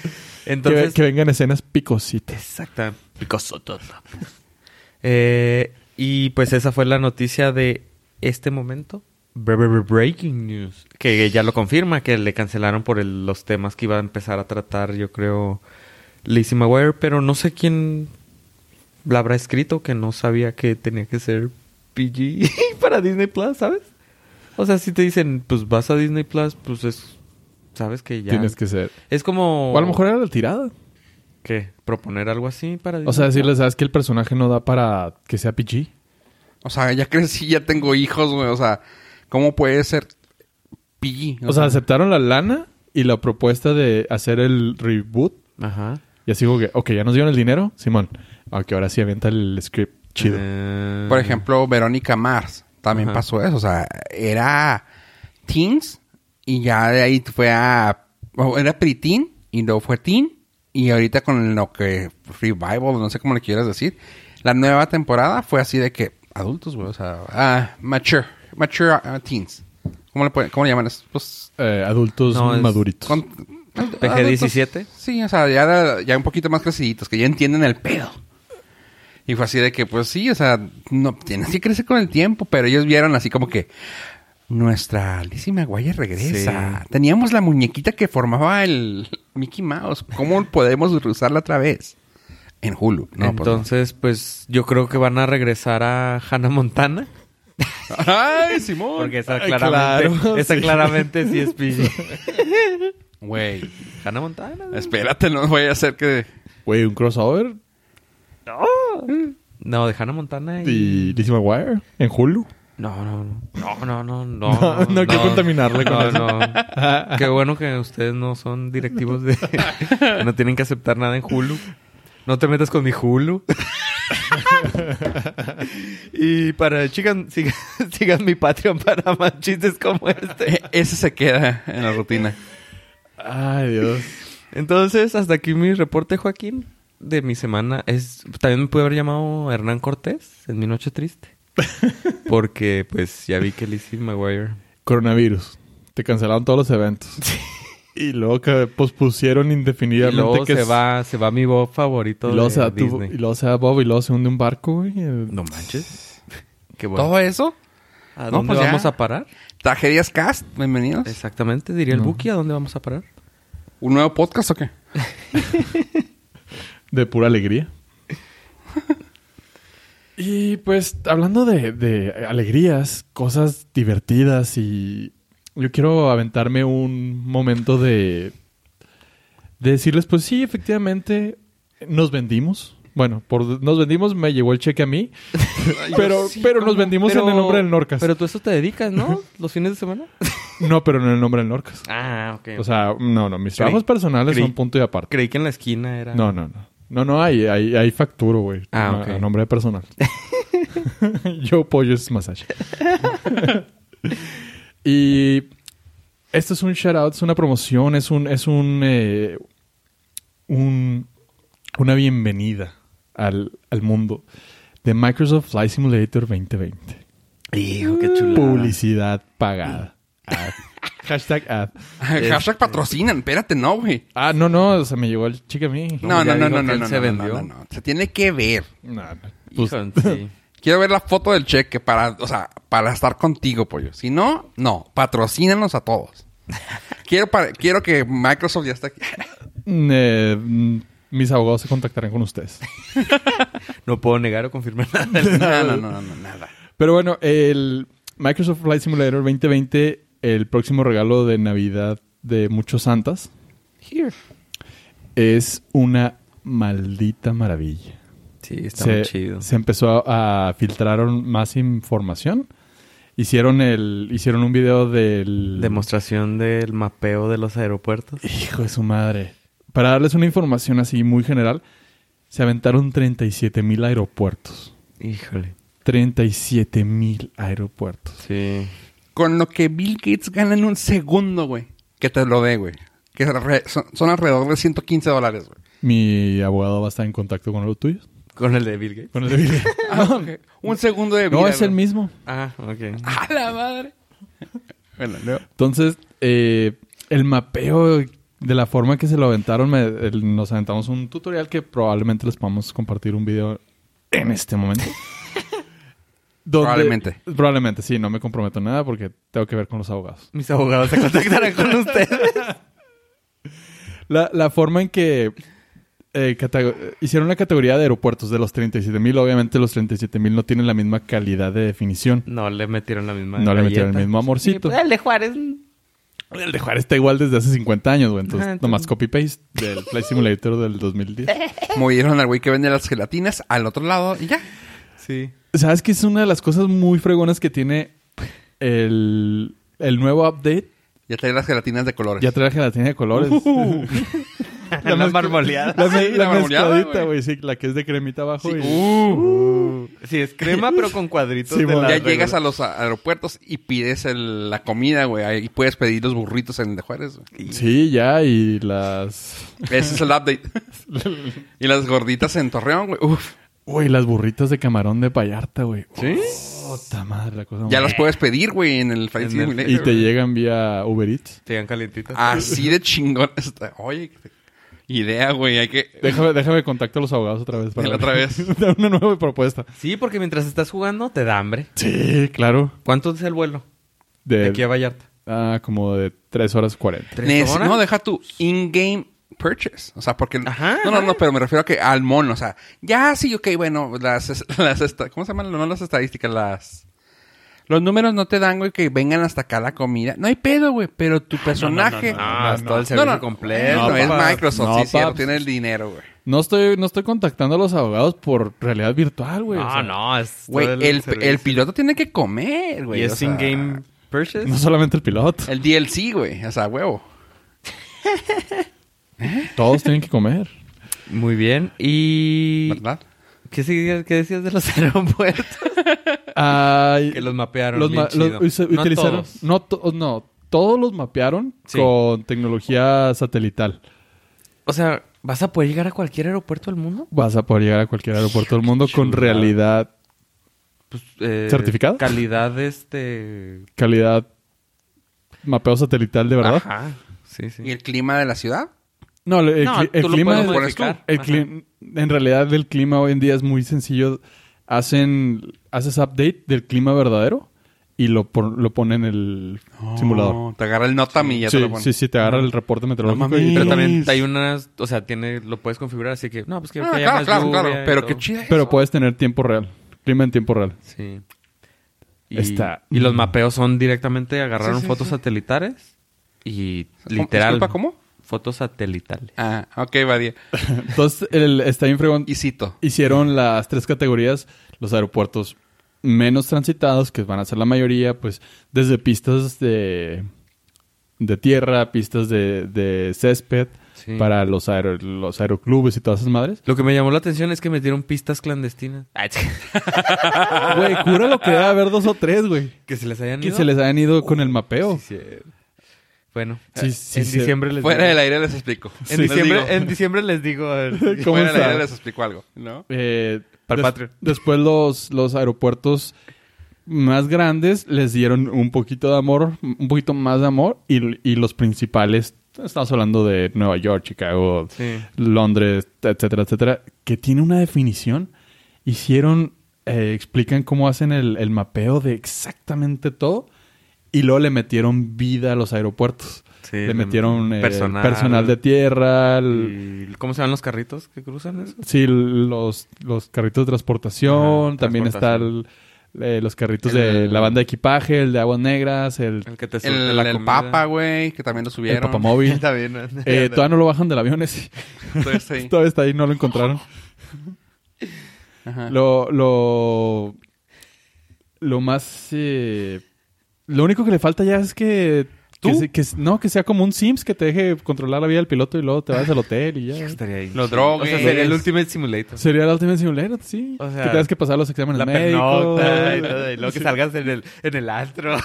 Entonces. que vengan escenas picositas. Exacta. Eh, y pues esa fue la noticia de este momento. Bre- bre- bre- Breaking news. Que ya lo confirma, que le cancelaron por el- los temas que iba a empezar a tratar, yo creo, Lizzie McGuire. Pero no sé quién la habrá escrito, que no sabía que tenía que ser PG para Disney Plus, ¿sabes? O sea, si te dicen, pues vas a Disney Plus, pues es. Sabes que ya. Tienes que ser. Es como. O a lo mejor era la tirada. ¿Qué? ¿Proponer algo así para O sea, decirle, ¿sabes que el personaje no da para que sea PG? O sea, ya crecí, ya tengo hijos, güey. O sea, ¿cómo puede ser PG? O sea, aceptaron la lana y la propuesta de hacer el reboot. Ajá. Y así como que, ok, ya nos dieron el dinero, Simón. Aunque ahora sí avienta el script chido. Eh, Por ejemplo, Verónica Mars también Ajá. pasó eso. O sea, era teens y ya de ahí fue a. o Era pre-teen y luego fue teen. Y ahorita con lo que. Revival, no sé cómo le quieras decir. La nueva temporada fue así de que. Adultos, güey. O sea, ah, mature. Mature ah, teens. ¿Cómo le, pueden- cómo le llaman? eso? Pues. Eh, adultos No, es- maduritos. con- PG-17. adultos. pues, Sí, o sea, ya, ya un poquito más creciditos, que ya entienden el pedo. Y fue así de que, pues sí, o sea, no, tienes que crecer con el tiempo, pero ellos vieron así como que nuestra Lizzie McGuire regresa. Sí. Teníamos la muñequita que formaba el Mickey Mouse. ¿Cómo podemos usarla otra vez? En Hulu. No, pues, Entonces, pues, yo creo que van a regresar a Hannah Montana. no. ¡Ay, Simón! Porque esa Ay, claramente, claro, esa sí. claramente sí es PG. Güey, Hannah Montana. espérate, no voy a hacer que... Güey, un crossover No. No, de Hannah Montana y... y Lizzie McGuire en Hulu. No, no, no. No, no, no. No, No, no hay que contaminarle con no, eso. no. Qué bueno que ustedes no son directivos de... no tienen que aceptar nada en Hulu. No te metas con mi Hulu. y para... Sigan, sigan, sigan mi Patreon para más chistes como este. Ese se queda en la rutina. Ay, Dios. Entonces, hasta aquí mi reporte, Joaquín, de mi semana. Es, también me pude haber llamado Hernán Cortés en mi noche triste. Porque, pues, ya vi que Lizzie McGuire... Coronavirus. Te cancelaron todos los eventos. Y luego que pospusieron Y indefinidamente luego que se es- va, se va mi voz favorito Y luego, de se da tu- Disney. y luego se da Bob y luego se hunde un barco, güey. Eh, No manches. Qué Todo eso, ¿A No, dónde pues ya. vamos a parar? Tragedias Cast, bienvenidos. Exactamente, diría el No. Buki, ¿a dónde vamos a parar? ¿Un nuevo podcast o qué? De pura alegría. y pues, hablando de, de alegrías, cosas divertidas y... Yo quiero aventarme un momento de... De decirles, pues sí, efectivamente, nos vendimos. Bueno, por nos vendimos me llegó el cheque a mí. pero pero nos vendimos en el nombre del Norcas. Pero tú a eso te dedicas, ¿no? Los fines de semana. No, pero en el nombre del Norcas. ah, ok. O sea, no, no, mis Creí- trabajos personales creí- son punto y aparte. creí que en la esquina era... No, no, no. No, no, hay, hay, hay facturo, güey. Ah, A- ok. A nombre de personal. Yo pollo es masaje. y esto es un shout-out, es una promoción, es un... Es un, eh, un una bienvenida al, al mundo de Microsoft Flight Simulator 2020. Hijo, qué chulada. Publicidad pagada. Ad. Hashtag ad. Hashtag patrocinan, espérate, no, güey. Ah, no, no, o sea, me llegó el cheque a mí. No, ya no, no, dijo no, que no, él no, se no, vendió. no, no, no. Se tiene que ver. No, no. Pues, Hijo, sí. Quiero ver la foto del cheque para, o sea, para estar contigo, pollo. Si no, no, patrocínanos a todos. Quiero, para- quiero que Microsoft ya está aquí. mm, eh, mm, mis abogados se contactarán con ustedes. No puedo negar o confirmar nada. No, no, no, no, no, nada. Pero bueno, el Microsoft Flight Simulator 2020, el próximo regalo de Navidad de muchos santas, es una maldita maravilla. Sí, está muy se, chido. se empezó a, a filtrar más información. Hicieron el hicieron un video del Demostración del mapeo de los aeropuertos. Hijo de su madre. Para darles una información así muy general, se aventaron 37 mil aeropuertos. Híjole. 37 mil aeropuertos. Sí. Con lo que Bill Gates gana en un segundo, güey. Que te lo dé, güey. Que re- son, son alrededor de 115 dólares, güey. Mi abogado va a estar en contacto con los tuyos. Con el de Bill Gates. Con el de Bill Gates. Ah, ok. Un segundo de vida. No, es el güey. mismo. Ah, ok. ¡A la madre! bueno, luego. Entonces, eh, el mapeo de la forma que se lo aventaron, me- el- nos aventamos un tutorial que probablemente les podamos compartir un video en este momento. Donde- Probablemente. Probablemente, sí, no me comprometo en nada porque tengo que ver con los abogados. Mis abogados se contactarán con ustedes. La, la forma en que eh, cata- hicieron la categoría de aeropuertos de los 37.000, obviamente los 37.000 no tienen la misma calidad de definición. No le metieron la misma. No le metieron galleta. el mismo amorcito. el de Juárez. El de Juárez está igual desde hace 50 años, güey. Entonces, Ah, entonces- nomás copy-paste del Flight Simulator del 2010. Movieron al güey que vende las gelatinas al otro lado y ya. Sí. ¿Sabes que es una de las cosas muy fregonas que tiene el, el nuevo update? Ya trae las gelatinas de colores. Ya trae la gelatina de colores. La, mezcla- marmoleada. La, me- Sí, la Uh. la marmoleada, mezcladita, güey. güey. Sí, la que es de cremita abajo. Sí. Uh. y- Uh. Sí, es crema, pero con cuadritos. Sí, de bueno. la Ya regla. llegas a los a- aeropuertos y pides el- la comida, güey. Ahí puedes pedir los burritos en el de Juárez, güey. Sí, ya. Y las... Ese es el update. y las gorditas en Torreón, güey. Uf. Uy, las burritas de camarón de Vallarta, güey. ¿Sí? Puta madre, la cosa Ya más- las puedes pedir, güey, en el Flight En el- Simulator, Y te güey. llegan vía Uber Eats. Te llegan calientitas. Ah. Así de chingón. está. Oye, qué idea, güey. Hay que... Déjame, déjame contacto a los abogados otra vez. Dale otra vez. dar una nueva propuesta. Sí, porque mientras estás jugando te da hambre. Sí, claro. ¿Cuánto es el vuelo? De, De aquí a Vallarta. Ah, como de 3 horas 40. ¿Tres Neces- horas? No, deja tu in-game purchase. O sea, porque... Ajá, no, no, ajá. no, pero me refiero a que al mono. O sea, ya sí, ok, bueno, las... es- las esta- ¿Cómo se llaman? No las estadísticas, las... Los números no te dan, güey, que vengan hasta acá la comida. No hay pedo, güey, pero tu personaje... Ah, no, Ah, no, no, es todo el No, servicio no. completo, No, es paps. Microsoft, No, sí, es cierto, paps. tiene el dinero, güey. No estoy, no estoy contactando a los abogados por realidad virtual, güey. o sea, no, es. todo Güey, el, el servicio. piloto tiene que comer, güey. Y o es sea, in-game purchase. No solamente el piloto. El DLC, güey. O sea, huevo. Todos tienen que comer. Muy bien. ¿Y ¿Verdad? qué, seguías- qué decías de los aeropuertos? Ay, que los mapearon. los bien ma- los chido. usa- No utilizaron. todos. No, to- no, todos los mapearon Sí. con tecnología satelital. O sea, ¿vas a poder llegar a cualquier aeropuerto del mundo? Vas a poder llegar a cualquier aeropuerto del mundo con Chulada. realidad, Pues, eh, ¿Certificado? Calidad, este. calidad, mapeo satelital de verdad. Ajá. Sí, sí. ¿Y el clima de la ciudad? No, el, No, cli- el tú lo clima puedes es- modificar. el Ajá. cli- en realidad el clima hoy en día es muy sencillo. Hacen haces update del clima verdadero y lo pon- lo ponen en el simulador. Oh, te agarra el notam y ya te Sí, lo pone. sí, sí, te agarra el reporte meteorológico. mames. y- Pero Sí. también hay unas, o sea, tiene, lo puedes configurar, así que, no, pues que, Ah, que haya claro, más claro, lluvia claro. y Pero todo. qué chida es. pero puedes tener tiempo real, clima en tiempo real. Sí. Y, Está- y los mapeos son directamente, agarraron Sí, sí, fotos sí. satelitales y ¿Cómo? literal. Disculpa, ¿cómo? Fotos satelitales. Ah, ok, Badía. Entonces, el, está bien fregón. Y cito. hicieron las tres categorías, los aeropuertos menos transitados, que van a ser la mayoría, pues desde pistas de, de tierra, pistas de, de césped, Sí. para los, aero- los aeroclubes y todas esas madres. Lo que me llamó la atención es que metieron pistas clandestinas. Güey, cura lo que debe haber dos o tres, güey. que se les hayan Que ido. se les hayan ido con el mapeo. Sí, sí. Bueno, Sí, eh, sí, en sí. diciembre les Fuera digo. del aire les explico. En, Les digo. diciembre, en diciembre les digo. a ver. ¿Cómo Fuera del está? aire les explico algo, ¿no? Eh, Para el des- Patreon. Después los, los aeropuertos más grandes les dieron un poquito de amor, un poquito más de amor y, y los principales, estamos hablando de Nueva York, Chicago, Sí. Londres, etcétera, etcétera, que tiene una definición, hicieron, eh, explican cómo hacen el, el mapeo de exactamente todo y luego le metieron vida a los aeropuertos. Sí, le metieron eh, personal. personal. de tierra, el- ¿Y ¿Cómo se llaman los carritos que cruzan eso? Sí, los, los carritos de transportación, Ajá, también transportación. está el- eh, los carritos El- de la banda de equipaje, el de aguas negras, el, El que te El, surte la el comida. papa, güey, que también lo el subieron. papamóvil. Está bien. ¿no? Eh, todavía no lo bajan del avión ese. Entonces, sí. Todavía está ahí, no lo encontraron. Ajá. Lo, lo, lo más... eh, lo único que le falta ya es que... que ¿Tú? se- que s- no, que sea como un Sims que te deje controlar la vida del piloto y luego te vas al hotel y ya. Estaría ahí. Lo chido. drogues. O sea, sería el Ultimate Simulator. Sería el Ultimate Simulator, sí. O sea, que tengas que pasar los exámenes La médicos. pernocta y todo, y luego que salgas en el, en el antro.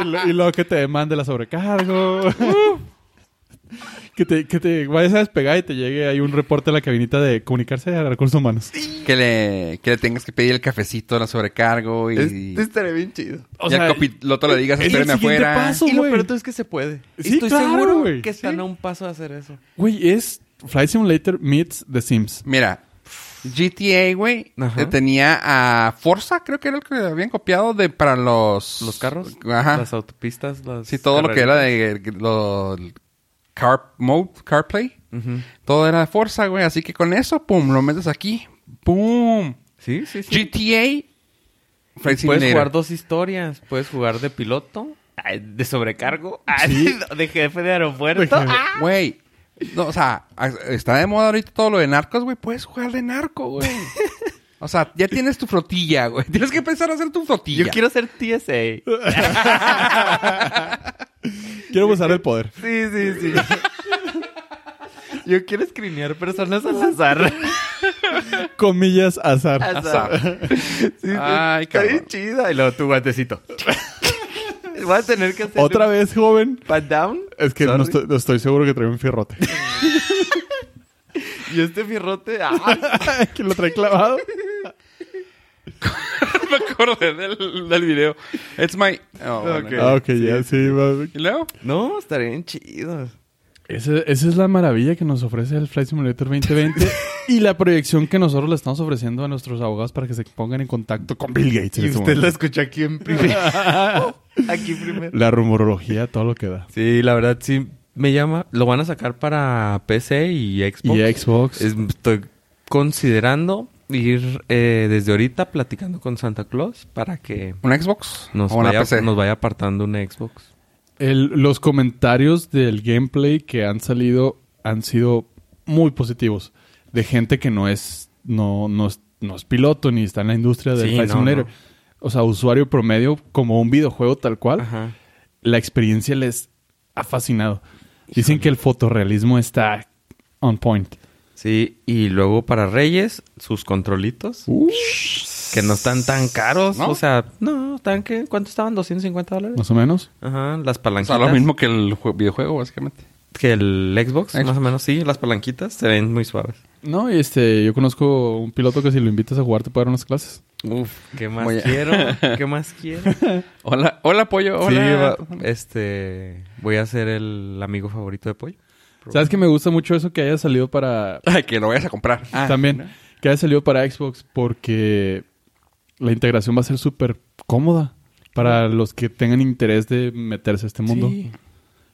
Y lo- y luego que te mande la sobrecargo. que, te, que te vayas a despegar y te llegue ahí un reporte a la cabinita de comunicarse a recursos humanos. Que le, que le tengas que pedir el cafecito, la sobrecargo y... Este estaría bien chido. y al copiloto le digas, es el espérame siguiente afuera. paso. Y lo güey. peor de todo es que se puede. Sí, Estoy claro, seguro güey. que están Sí. a un paso de hacer eso. Güey, es Flight Simulator meets The Sims. Mira, GTA, güey, Ajá. eh, tenía a Forza, creo que era el que habían copiado de para los... Los carros, Ajá. las autopistas, las sí, todo lo que era de... Lo, car mode, CarPlay. Ujú. Todo era Forza, güey. Así que con eso, pum, lo metes aquí. Pum. Sí, sí, sí. GTA. Flight puedes Simulator. jugar dos historias. Puedes jugar de piloto, ay, de sobrecargo, ay, de jefe de aeropuerto. De jefe. ah. Güey. No, o sea, a- está de moda ahorita todo lo de narcos, güey. Puedes jugar de narco, güey. O sea, ya tienes tu flotilla, güey. Tienes que pensar hacer tu flotilla. Yo quiero ser TSA. Quiero usar el poder. Sí, sí, sí. Yo quiero escrinear personas al azar. Comillas azar. azar. Sí, sí. Ay, Está bien cabrón. chida. Y luego tu guantecito. Voy a tener que hacer Otra un vez, joven. pat down. Es que no Sorry. estoy, no estoy seguro que trae un fierrote. Y este fierrote. ah, que lo trae clavado. Me acordé del, del video. It's my... oh, bueno. Ok. Ah, ok, ya, sí. va. ¿Y luego? No, estaría bien chido. Esa, esa es la maravilla que nos ofrece el Flight Simulator 2020 y la proyección que nosotros le estamos ofreciendo a nuestros abogados para que se pongan en contacto con Bill Gates. en Y este usted la momento. escucha aquí en primero. aquí primero. La rumorología, todo lo que da. Sí, la verdad sí me llama. Lo van a sacar para PC y Xbox. Y Xbox. Es- estoy considerando ir eh, desde ahorita platicando con Santa Claus para que ¿Una Xbox? nos, ¿O una vaya, PC? nos vaya apartando un Xbox. El- los comentarios del gameplay que han salido han sido muy positivos. De gente que no es, no, no es, no es piloto ni está en la industria del Sí, Flight no, Simulator. no. O sea, usuario promedio como un videojuego tal cual. Ajá. la experiencia les ha fascinado. Dicen que el fotorrealismo está on point. Sí, y luego para Reyes, sus controlitos, que no están tan caros. ¿No? O sea, no, ¿están que ¿Cuánto estaban? ¿250 dólares? Más o menos. Ajá, las O palanquitas. sea, lo mismo que el jue- videojuego, básicamente. Que el Xbox, Xbox. más o menos, sí. Las palanquitas se ven muy suaves. No, y este, yo conozco un piloto que si lo invitas a jugar te puede dar unas clases. Uf, ¿qué más Voy a- quiero? ¿Qué más quiero? Hola, hola, pollo. Hola. Sí, va- este, voy a ser el amigo favorito de Pollo. ¿Sabes que me gusta mucho eso que haya salido para... Ay, que lo vayas a comprar. Ah, también, que haya salido para Xbox porque la integración va a ser súper cómoda para los que tengan interés de meterse a este mundo. Sí.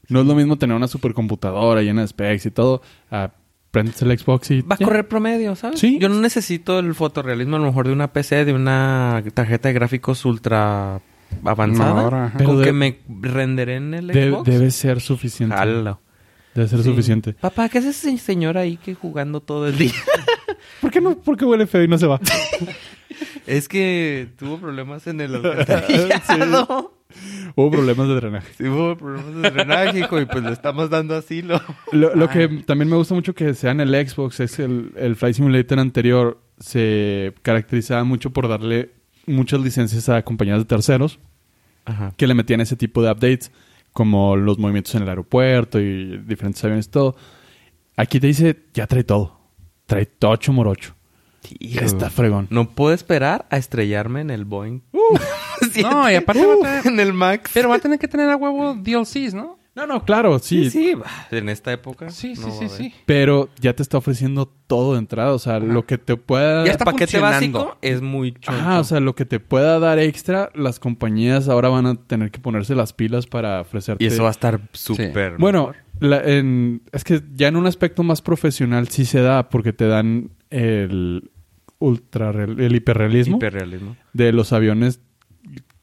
No es lo mismo tener una supercomputadora llena de specs y todo. a prendes el Xbox y... Va a ya. correr promedio, ¿sabes? Sí. Yo no necesito el fotorrealismo a lo mejor de una PC, de una tarjeta de gráficos ultra avanzada. Ahora, ajá. Pero Con de- que me renderé en el De- Xbox. debe ser suficiente. Jalo. Debe ser Sí. suficiente. Papá, ¿qué es ese señor ahí que jugando todo el día? ¿Por qué no? ¿Por qué huele feo y no se va? es que tuvo problemas en el alcantarillado. Hubo problemas de drenaje. Sí, hubo problemas de drenaje, hijo, y pues le estamos dando asilo. Lo, lo que también me gusta mucho que sea en el Xbox es el, el Flight Simulator anterior se caracterizaba mucho por darle muchas licencias a compañías de terceros Ajá. que le metían ese tipo de updates, como los movimientos en el aeropuerto y diferentes aviones, todo. Aquí te dice, ya trae todo. Trae tocho morocho. Ya está fregón. No puedo esperar a estrellarme en el Boeing. No, y aparte va a tener- Uh, en el Max. Pero va a tener que tener a huevo DLCs, ¿no? No, no, claro, sí. Sí, sí, bah, en esta época. Sí, sí, no va a sí, haber. sí. Pero ya te está ofreciendo todo de entrada. O sea, lo que te pueda... Ya El está paquete funcionando. Ah, básico es muy choncho. Ajá, o sea, lo que te pueda dar extra, las compañías ahora van a tener que ponerse las pilas para ofrecerte. y eso va a estar súper. Bueno, la- en- es que ya en un aspecto más profesional sí se da, porque te dan el ultra el hiperrealismo hiperrealismo. de los aviones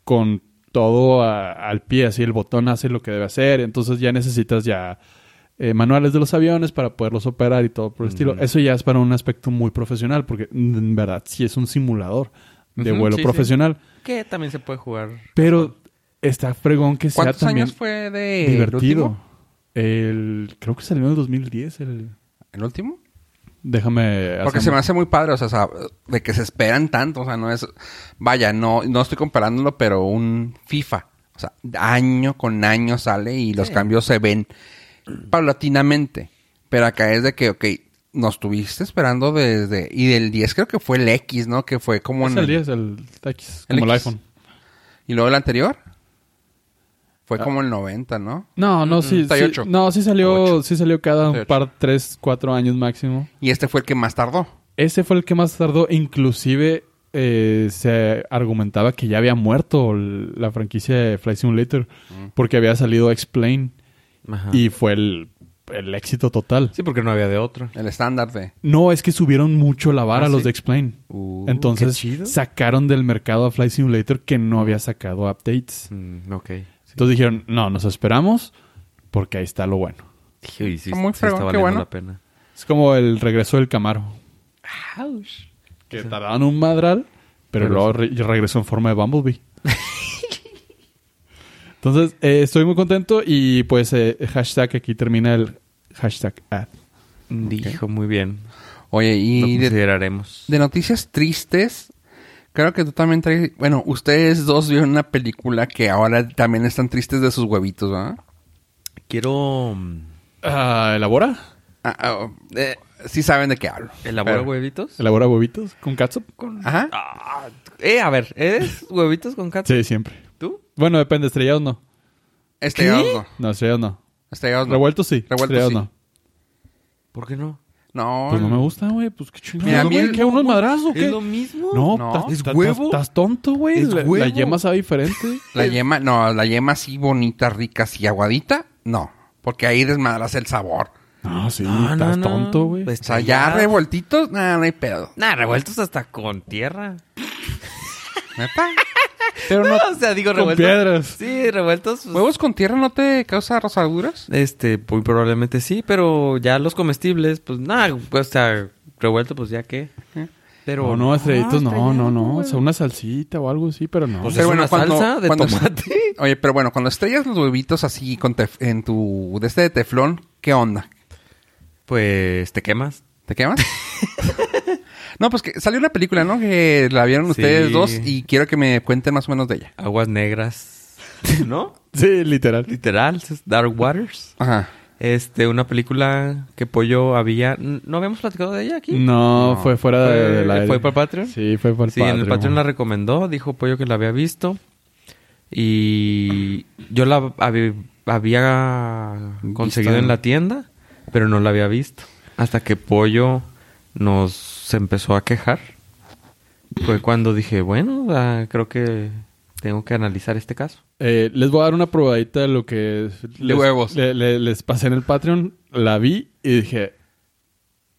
con todo a- al pie, así el botón hace lo que debe hacer, entonces ya necesitas ya eh, manuales de los aviones para poderlos operar y todo por el estilo. Eso ya es para un aspecto muy profesional, porque mm, en verdad sí es un simulador de Ujú, vuelo sí, sí. profesional. Que también se puede jugar. Pero está fregón que sea ¿Cuántos también años fue de el divertido. último? El, creo que salió en el 2010. El, ¿El último? déjame. Porque hacer- se me hace muy padre, o sea, sa- de que se esperan tanto, o sea, no es... Vaya, no, no estoy comparándolo, pero un FIFA, o sea, año con año sale y los Sí. cambios se ven paulatinamente. Pero acá es de que, ok, nos tuviste esperando desde... Y del 10 creo que fue el X, ¿no? Que fue como... Es en el 10, el X, el como el X. iPhone. ¿Y luego el anterior? Fue Ah. como el 90, ¿no? No, no, sí, está sí- ocho. no, sí salió, Ocho. sí salió cada Está un ocho. par, tres, cuatro años máximo. Y este fue el que más tardó. Ese fue el que más tardó, inclusive eh, se argumentaba que ya había muerto el- la franquicia de Flight Simulator porque había salido X-Plane Mm. Ajá. y fue el, el éxito total. Sí, porque no había de otro. El estándar de... No, es que subieron mucho la vara Ah, los sí. de X-Plane. Uh, qué Entonces chido. sacaron del mercado a Flight Simulator que no había sacado updates. Mm, ok. Entonces dijeron, no, nos esperamos porque ahí está lo bueno. Dije, "Uy, sí, Está muy sí fregón, está qué valiendo bueno. la pena. Es como el regreso del Camaro. Que tardaban un madral, pero, Pero luego re- regresó en forma de Bumblebee. Entonces, eh, estoy muy contento y pues eh, hashtag, aquí termina el hashtag ad. Dijo muy bien. Oye, Lo y... de- consideraremos. De noticias tristes, creo que tú también traes... Bueno, ustedes dos vieron una película que ahora también están tristes de sus huevitos, ¿verdad? Quiero... mm, Ah, ¿Elabora? Ah, ah, eh, sí saben de qué hablo. ¿Elabora Pero- huevitos? ¿Elabora huevitos con catsup? Ajá. Ah, eh, a ver, ¿eres huevitos con catsup? Sí, siempre. ¿Tú? Bueno, depende, estrellados no. Estrellados no. No, estrellados no. Estrellados no. Revueltos sí. Revueltos estrellados sí. no. ¿Por qué no? No. Pues no me gusta, güey. Pues qué Mira, a chingado, mí güey. el- ¿Qué? ¿Unos madrazos o qué? ¿Es lo mismo? No, No. tas- ¿Es tas- huevo? Estás tonto, güey. ¿Es La, la huevo? yema sabe diferente. La yema, no, la yema así bonita, rica, así aguadita, no. Porque ahí desmadras el sabor. No, sí. No, Ah, no, estás no. Pues tonto, güey. O sea, ya revueltitos, nada, no hay pedo. Nah, revueltos hasta con tierra. ¿Neta? Pero no... o sea, digo con revueltos. piedras. Sí, revueltos. pues, ¿Huevos con tierra no te causa rosaduras? Este, muy probablemente sí, pero ya los comestibles, pues nada, pues, o sea, revuelto, pues ya qué. Pero. No, no, estrellitos, Ah, no, está no, bien, no. O güey. sea, una salsita o algo así, pero no. Pues Pero es bueno, una cuando- salsa de cuando- tomate. Oye, pero bueno, cuando estrellas los huevitos así con tef- en tu... de este de teflón, ¿qué onda? Pues te quemas. ¿Te quemas? no, pues que salió una película, ¿no? Que la vieron ustedes Sí. dos y quiero que me cuenten más o menos de ella. Aguas negras. ¿No? sí, literal. Literal, es Dark Waters. Ajá. Este, una película que Pollo había. ¿No habíamos platicado de ella aquí? No, No. fue fuera de, ¿Fue- de la... fue para Patreon? Sí, fue para el sí, en el Patreon la recomendó, dijo Pollo que la había visto. Y yo la hab- había conseguido Vista. en la tienda, pero no la había visto. Hasta que Pollo nos se empezó a quejar. Fue cuando dije, bueno, ah, creo que tengo que analizar este caso. Eh, les voy a dar una probadita de lo que... les- huevos. le- le- les pasé en el Patreon, la vi y dije...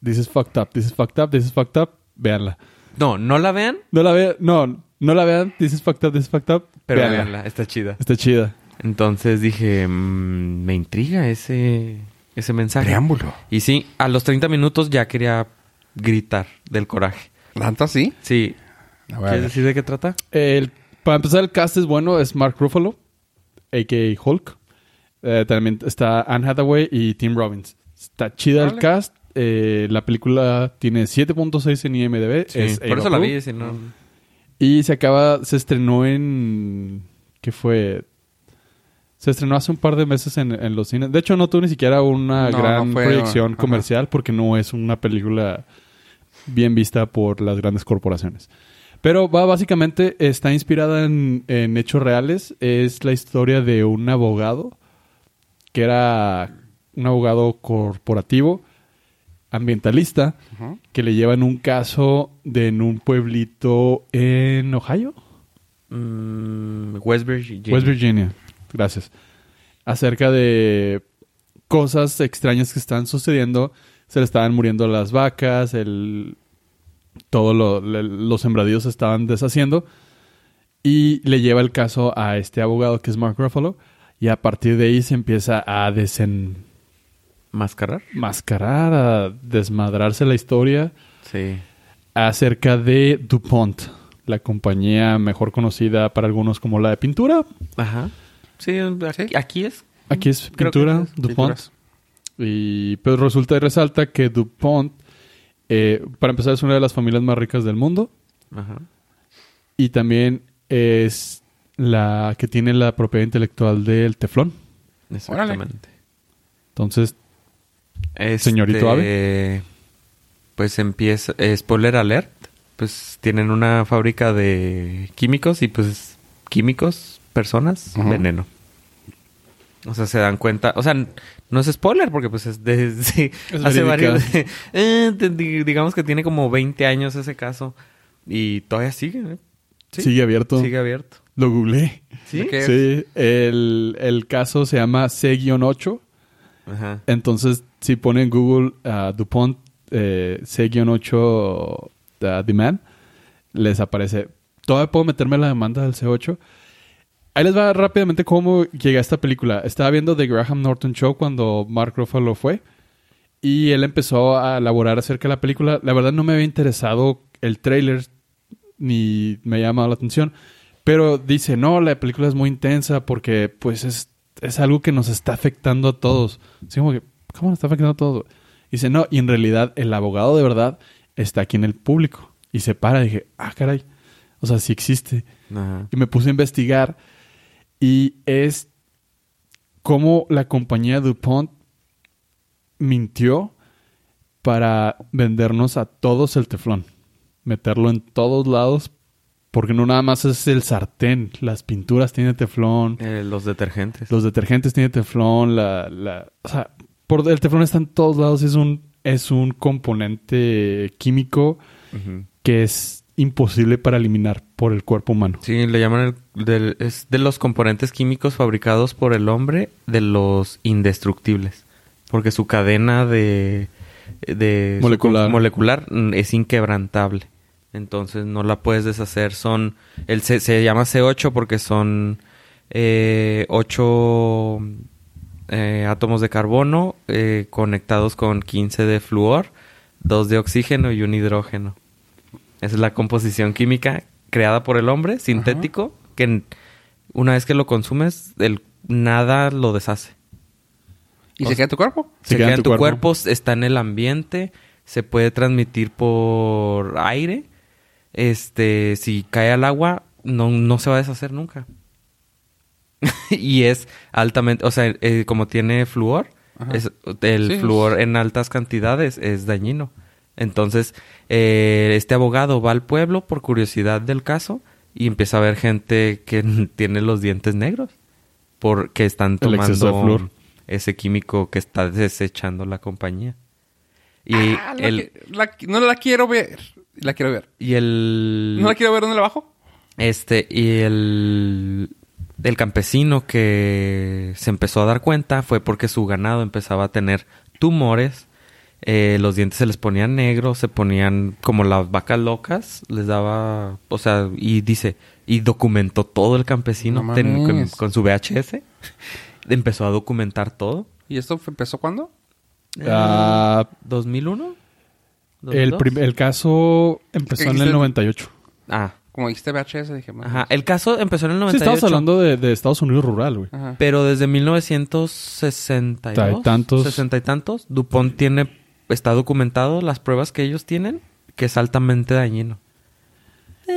This is fucked up, this is fucked up, this is fucked up. Véanla. No, no la vean, No la vean, no, no la vean. This is fucked up, this is fucked up. pero véanla. véanla, está chida. Está chida. Entonces dije, "Mm, me intriga ese, ese mensaje. Preámbulo. Y sí, a los 30 minutos ya quería gritar del coraje. ¿Tanto así? Sí. La voy a ¿Quieres ver. decir de qué trata? El- para empezar, el cast es bueno. Es Mark Ruffalo, a.k.a. Hulk. Eh, también está Anne Hathaway y Tim Robbins. Está chida el Órale. cast. Eh, la película tiene 7.6 en IMDb. Es por eso A-Rod la Who. vi, si no... Y se acaba... Se estrenó en... ¿Qué fue? Se estrenó hace un par de meses en, en los cines. De hecho, no tuvo ni siquiera una No, no gran fue- proyección ajá. comercial porque no es una película bien vista por las grandes corporaciones. Pero va básicamente, está inspirada en, en hechos reales. Es la historia de un abogado que era un abogado corporativo, ambientalista, Ujú. que le llevan un caso de en un pueblito en Ohio. Mm, West Virginia. West Virginia. Gracias. Acerca de cosas extrañas que están sucediendo. Se le estaban muriendo las vacas, el todos los sembradíos se estaban deshaciendo. Y le lleva el caso a este abogado que es Mark Ruffalo. Y a partir de ahí se empieza a desen... ¿Mascarar? mascarar, a desmadrarse la historia Sí. acerca de DuPont, la compañía mejor conocida para algunos como la de pintura. Ajá. Sí, aquí, aquí es. Aquí es Creo que pintura, es DuPont. pinturas. Y pero resulta y resalta que DuPont, eh, para empezar, es una de las familias más ricas del mundo Ajá. y también es la que tiene la propiedad intelectual del teflón. Exactamente. Entonces, Este, Señorito Pues empieza. eh, spoiler alert. Pues tienen una fábrica de químicos y pues químicos, personas, Ajá. veneno. O sea, se dan cuenta. O sea, n- no es spoiler porque pues es de, sí, Es hace verídica. varios. eh, de- di- digamos que tiene como 20 años ese caso y todavía sigue. ¿eh? Sí, sigue abierto. Sigue abierto. Lo googleé. ¿Sí? ¿De qué? Sí, el, el caso se llama C-8. Ajá. Entonces, si ponen Google ah, DuPont eh, C-8 ah, Demand, les aparece. Todavía puedo meterme la demanda del C8. Ahí les va rápidamente cómo llegué a esta película. Estaba viendo The Graham Norton Show cuando Mark Ruffalo fue. Y él empezó a elaborar acerca de la película. La verdad no me había interesado el tráiler ni me ha llamado la atención. Pero dice, no, la película es muy intensa porque pues es, es algo que nos está afectando a todos. Así como que, ¿cómo nos está afectando a todos? Dice, no, y en realidad el abogado de verdad está aquí en el público. Y se para, dije, ah, caray. O sea, sí existe. Ajá. Y me puse a investigar y es cómo la compañía DuPont mintió para vendernos a todos el teflón, meterlo en todos lados, porque no nada más es el sartén, las pinturas tienen teflón, Eh, los detergentes. los detergentes tienen teflón, la, la- o sea, por, el teflón está en todos lados, es un, es un componente químico Ujú. que es imposible para eliminar por el cuerpo humano. Sí, le llaman el, del- es de los componentes químicos fabricados por el hombre de los indestructibles. Porque su cadena de, de su Molecular. con- molecular mm, es inquebrantable. Entonces no la puedes deshacer. Son. El C- se llama C8 porque son eh, 8 eh, átomos de carbono eh, conectados con 15 de flúor, 2 de oxígeno y un hidrógeno. Esa es la composición química creada por el hombre, sintético, que n- una vez que lo consumes, el, nada lo deshace. ¿Y se queda en tu cuerpo? Se Se, queda queda en en tu tu cuerpo. cuerpo. está en el ambiente, se puede transmitir por aire. Este, si cae al agua, no, no se va a deshacer nunca. y es altamente, o sea, eh, como tiene flúor, Ajá. es, el Sí, es- flúor en altas cantidades es dañino. Entonces, eh, este abogado va al pueblo por curiosidad del caso y empieza a ver gente que tiene los dientes negros porque están El tomando exceso de flúor. ese químico que está desechando la compañía. Y Ah, la el que- la que- no la quiero ver. La quiero ver. y el No la quiero ver. ¿Dónde la bajo? este y el el campesino que se empezó a dar cuenta fue porque su ganado empezaba a tener tumores, eh, los dientes se les ponían negros, se ponían como las vacas locas, les daba, o sea, y dice, y documentó todo el campesino No ten- con, mames. con su VHS, empezó a documentar todo. ¿Y esto fue- empezó cuándo? Ah, ¿2001? El, ¿2002? prim- el caso empezó en el Existen- 98. Ah, Como dijiste VHS, dije... madre. ajá. El caso empezó en el Sí, 98. estamos hablando de, de Estados Unidos rural, güey. Ajá. Pero desde 1962, Ta- y tantos. 60 y tantos, Dupont tiene, está documentado las pruebas que ellos tienen, que es altamente dañino.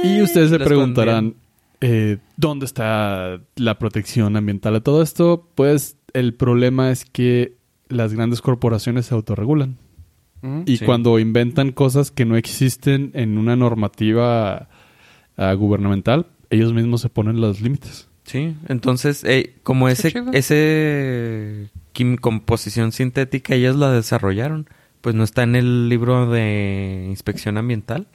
Y ustedes se Lo preguntarán, eh, ¿dónde está la protección ambiental a todo esto? Pues el problema es que las grandes corporaciones se autorregulan. Ujú. Y Sí. cuando inventan cosas que no existen en una normativa ah, gubernamental, ellos mismos se ponen los límites. Sí, entonces, eh, como Está ese, chido. ese quim- composición sintética ellas la desarrollaron, pues no está en el libro de inspección ambiental.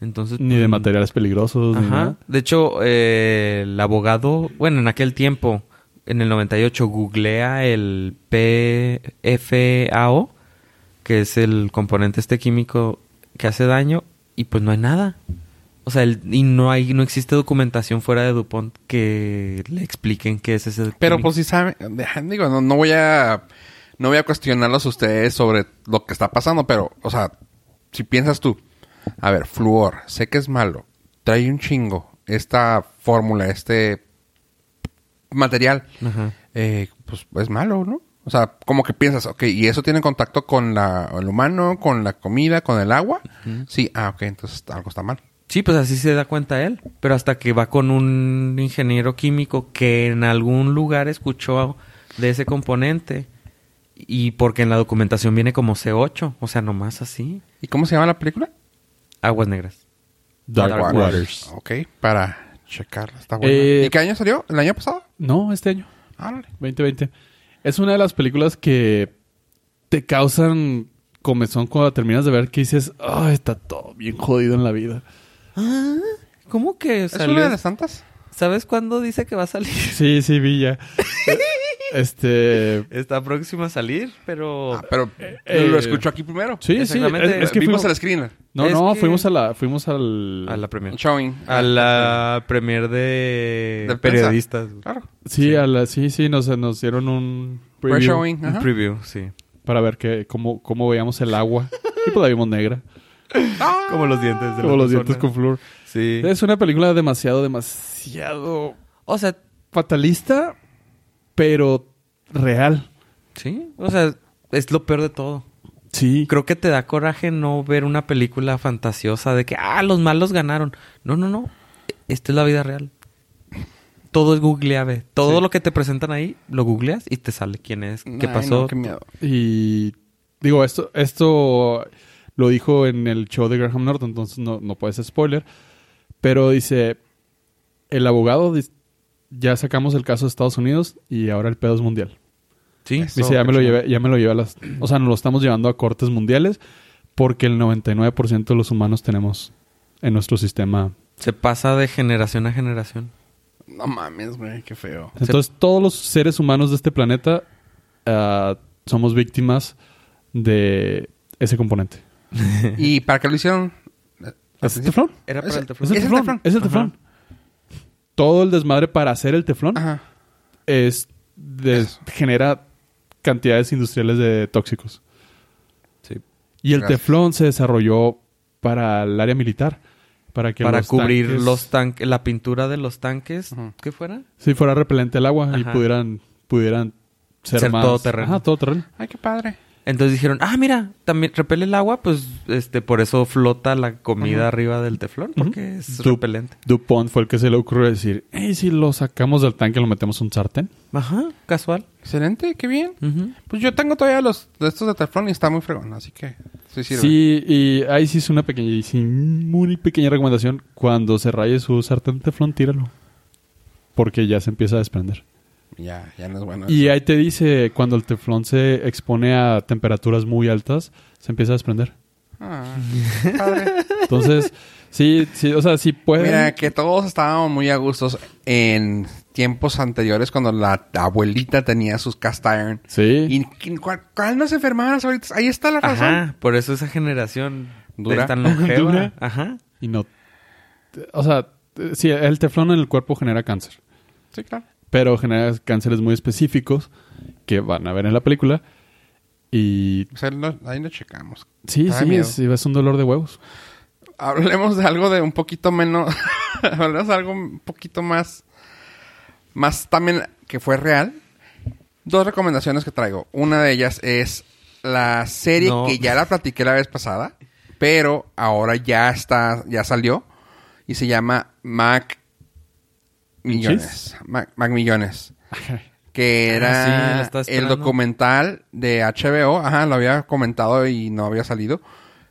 Entonces, Ni de pues, materiales peligrosos, ni Ajá. nada. De hecho, eh, el abogado, bueno, en aquel tiempo, en el 98, googlea el PFAO, que es el componente este químico que hace daño, y pues no hay nada. O sea, el- y no hay, no existe documentación fuera de Dupont que le expliquen qué es ese Pero químico. pues si saben, digo, no, no voy a no voy a cuestionarlos a ustedes sobre lo que está pasando, pero, o sea, si piensas tú, a ver, flúor, sé que es malo, trae un chingo esta fórmula, este material, Ajá. eh, pues es malo, ¿no? O sea, como que piensas, ok, ¿y eso tiene contacto con la, el humano, con la comida, con el agua? Sí, ah, ok, entonces algo está mal. Sí, pues así se da cuenta él. Pero hasta que va con un ingeniero químico que en algún lugar escuchó de ese componente. Y porque en la documentación viene como C8. O sea, nomás así. ¿Y cómo se llama la película? Aguas negras. Dark, Dark Waters. Ok, para checarla, está buena. Eh, ¿Y qué año salió? ¿El año pasado? No, este año. Ah, órale. 2020. Es una de las películas que te causan comezón cuando terminas de ver que dices, ah, está todo bien jodido en la vida. ¿Cómo que ¿Es una de las tantas? ¿Sabes cuándo dice que va a salir? Sí, sí, vi ya. este... Está próxima a salir, pero... Ah, pero eh, lo escuchó aquí primero. Sí, sí. Es, Exactamente. es que Vimos fuimos... el screener. No, Es no, que- fuimos a la... Fuimos al... a la premier. Showing. A la premier de, Ah, De prensa. periodistas. güey. Claro. Sí, sí, a la... Sí, sí, nos, nos dieron un... preview Pre-showing. Un ajá. preview, sí. Para ver que, cómo, cómo veíamos el agua. y pues la vimos negra. Ah, Como los dientes de la Como los dientes persona. con flúor. Sí. Es una película demasiado, demasiado O sea, fatalista, pero real. sí. O sea, es lo peor de todo. Sí. Creo que te da coraje no ver una película fantasiosa de que, ah, los malos ganaron. No, no, no. Esta es la vida real. Todo es googleable. Todo Sí. lo que te presentan ahí, lo googleas y te sale quién es, qué ay, pasó. no, qué miedo. Y digo, esto, esto lo dijo en el show de Graham Norton, entonces no, no puede ser spoiler. Pero dice, el abogado, dis- ya sacamos el caso de Estados Unidos y ahora el pedo es mundial. Sí. "Ah, Es- Dice, So, ya me, lo qué llevé, ya me lo llevé a las... O sea, nos lo estamos llevando a cortes mundiales porque el 99% de los humanos tenemos en nuestro sistema. Se pasa de generación a generación. No mames, güey, qué feo. Entonces, todos los seres humanos de este planeta ah, somos víctimas de ese componente. ¿Y para qué lo hicieron? ¿Es el teflón? Era para Ese- el ¿Es teléfono. el ¿Es el teflón? teflón? ¿Es el teflón? Todo el desmadre para hacer el teflón Ajá. es de- Eso. genera cantidades industriales de tóxicos. Sí. Y el Gracias. teflón se desarrolló para el área militar. Para, que para los cubrir tanques- los tanques, la pintura de los tanques, Ujú. ¿qué fuera? Si fuera repelente el agua y Ajá. pudieran, pudieran ser, Ser más... todoterreno. Ajá, todoterreno. Ay, qué padre. Entonces dijeron, ah, mira, también repele el agua, pues este, por eso flota la comida arriba del teflón, porque Ujú. es Tú- repelente. DuPont fue el que se le ocurrió decir, hey, si lo sacamos del tanque y lo metemos en un sartén. Ajá, casual. Excelente, qué bien. Ujú. Pues yo tengo todavía los de estos de Teflón y está muy fregón, así que sí sirve. Sí, y ahí sí es una pequeña, y sí, muy pequeña recomendación. Cuando se raye su sartén de teflón, tíralo. Porque ya se empieza a desprender. Ya, ya no es bueno. Y ahí te dice, cuando el teflón se expone a temperaturas muy altas, se empieza a desprender. Ah, padre. Entonces, sí, sí, o sea, sí pueden... Mira, que todos estábamos muy a gustos en tiempos anteriores cuando la abuelita tenía sus cast iron. sí. ¿Y quién- cuál, cuál no se enfermaban las abuelitas? Ahí está la razón. Ajá, por eso esa generación Dura. es tan longeva. Dura. Ajá. Y no. te- O sea, te- sí, el teflón en el cuerpo genera cáncer. Sí, claro. Pero genera cánceres muy específicos que van a ver en la película. Y. O sea, lo- Pues, ahí lo checamos. Sí, Da sí, miedo. es, es un dolor de huevos. Hablemos de algo de un poquito menos. Hablemos de algo un poquito más. Más también que fue real. Dos recomendaciones que traigo. Una de ellas es la serie No. que ya la platiqué la vez pasada, pero ahora ya está, ya salió y se llama Mac Millones. Mac, Mac Millones. Que Ah, sí, la era estaba el esperando. documental de HBO. Ajá, lo había comentado y no había salido.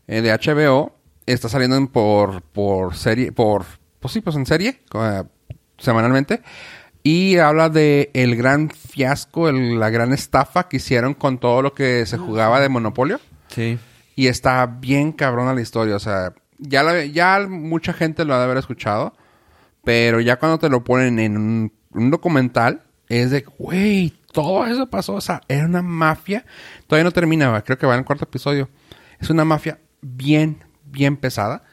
Eh, de HBO. Está saliendo en por, por serie. Por, pues sí, pues en serie. eh, semanalmente. Y habla de el gran fiasco, el- la gran estafa que hicieron con todo lo que se jugaba de Monopolio. Sí. Y está bien cabrona la historia. O sea, ya, la- ya mucha gente lo ha de haber escuchado. Pero ya cuando te lo ponen en un, un documental, es de, güey, todo eso pasó. O sea, era una mafia. Todavía no terminaba. Creo que va en el cuarto episodio. Es una mafia bien, bien pesada.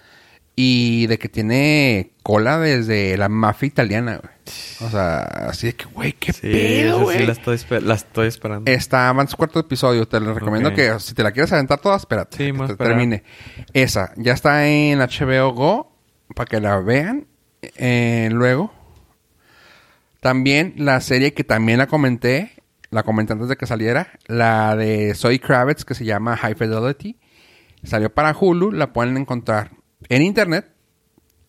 Y de que tiene cola desde la mafia italiana, güey. O sea, así de que, güey, qué Sí, pedo, esa sí güey. la estoy, esper- la estoy esperando. Está avance cuarto episodio. Te lo recomiendo Ok. que si te la quieres aventar toda, espérate. Sí, me voy que a te esperar. termine. Esa. Ya está en HBO Go para que la vean. Eh, luego. También la serie que también la comenté. La comenté antes de que saliera. La de Zoe Kravitz que se llama High Fidelity. Salió para Hulu. La pueden encontrar en internet.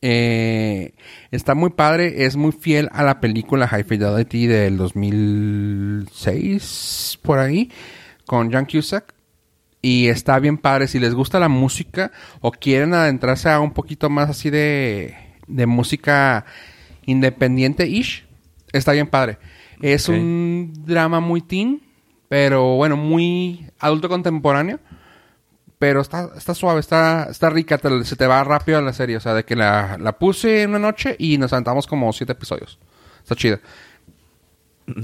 Eh, está muy padre, es muy fiel a la película High Fidelity del 2006, por ahí, con John Cusack. Y está bien padre. Si les gusta la música o quieren adentrarse a un poquito más así de, de música independiente-ish, está bien padre. Es Ok. un drama muy teen, pero bueno, muy adulto contemporáneo. Pero está, está suave, está, está rica, te- se te va rápido la serie. O sea, de que la, la puse en una noche y nos aventamos como siete episodios. Está chida.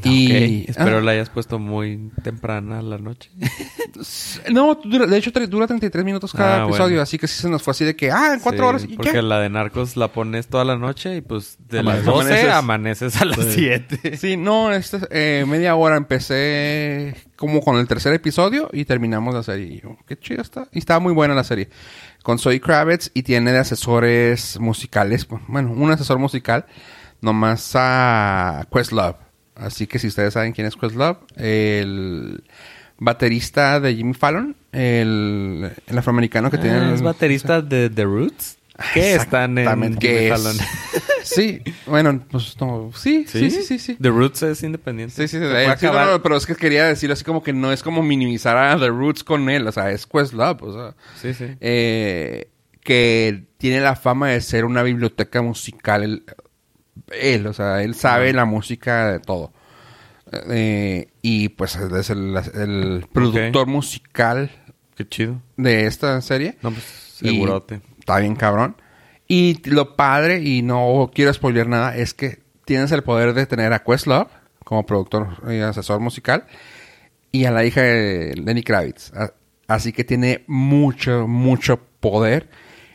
y- Ok, Espero ah. la hayas puesto muy temprana a la noche. No, dura- de hecho tre- dura 33 minutos cada Ah, bueno. episodio, así que sí se nos fue así de que, ah, en cuatro Sí, horas y Porque qué. la de Narcos la pones toda la noche y pues de las Amaneces. 12 amaneces a las Sí. 7. Sí, no, este, eh, media hora empecé como con el tercer episodio y terminamos la serie. Y yo, qué chida está. Y estaba muy buena la serie. Con Zoe Kravitz y tiene de asesores musicales. Bueno, un asesor musical nomás a Questlove. Así que si ustedes saben quién es Questlove, el baterista de Jimmy Fallon, el, el afroamericano que tiene... Ah, el- es baterista de The Roots. Que están en Exactamente, que Jimmy es- Fallon. Sí, bueno, pues no, sí, sí, sí, sí, sí. The Roots es independiente. Sí, sí, sí, Se de- puede sí, no, acabar. no, pero es que quería decirlo así como que no es como minimizar a The Roots con él, o sea, es Questlove, o sea, Sí, sí. eh, que tiene la fama de ser una biblioteca musical él, él, o sea, él sabe la música de todo. Eh, y pues es el, el productor musical Qué chido. de esta serie. No, pues Y segurote. Está bien cabrón. Y t- lo padre, y no quiero spoiler nada, es que tienes el poder de tener a Questlove como productor y asesor musical y a la hija de Lenny Kravitz. A- Así que tiene mucho, mucho poder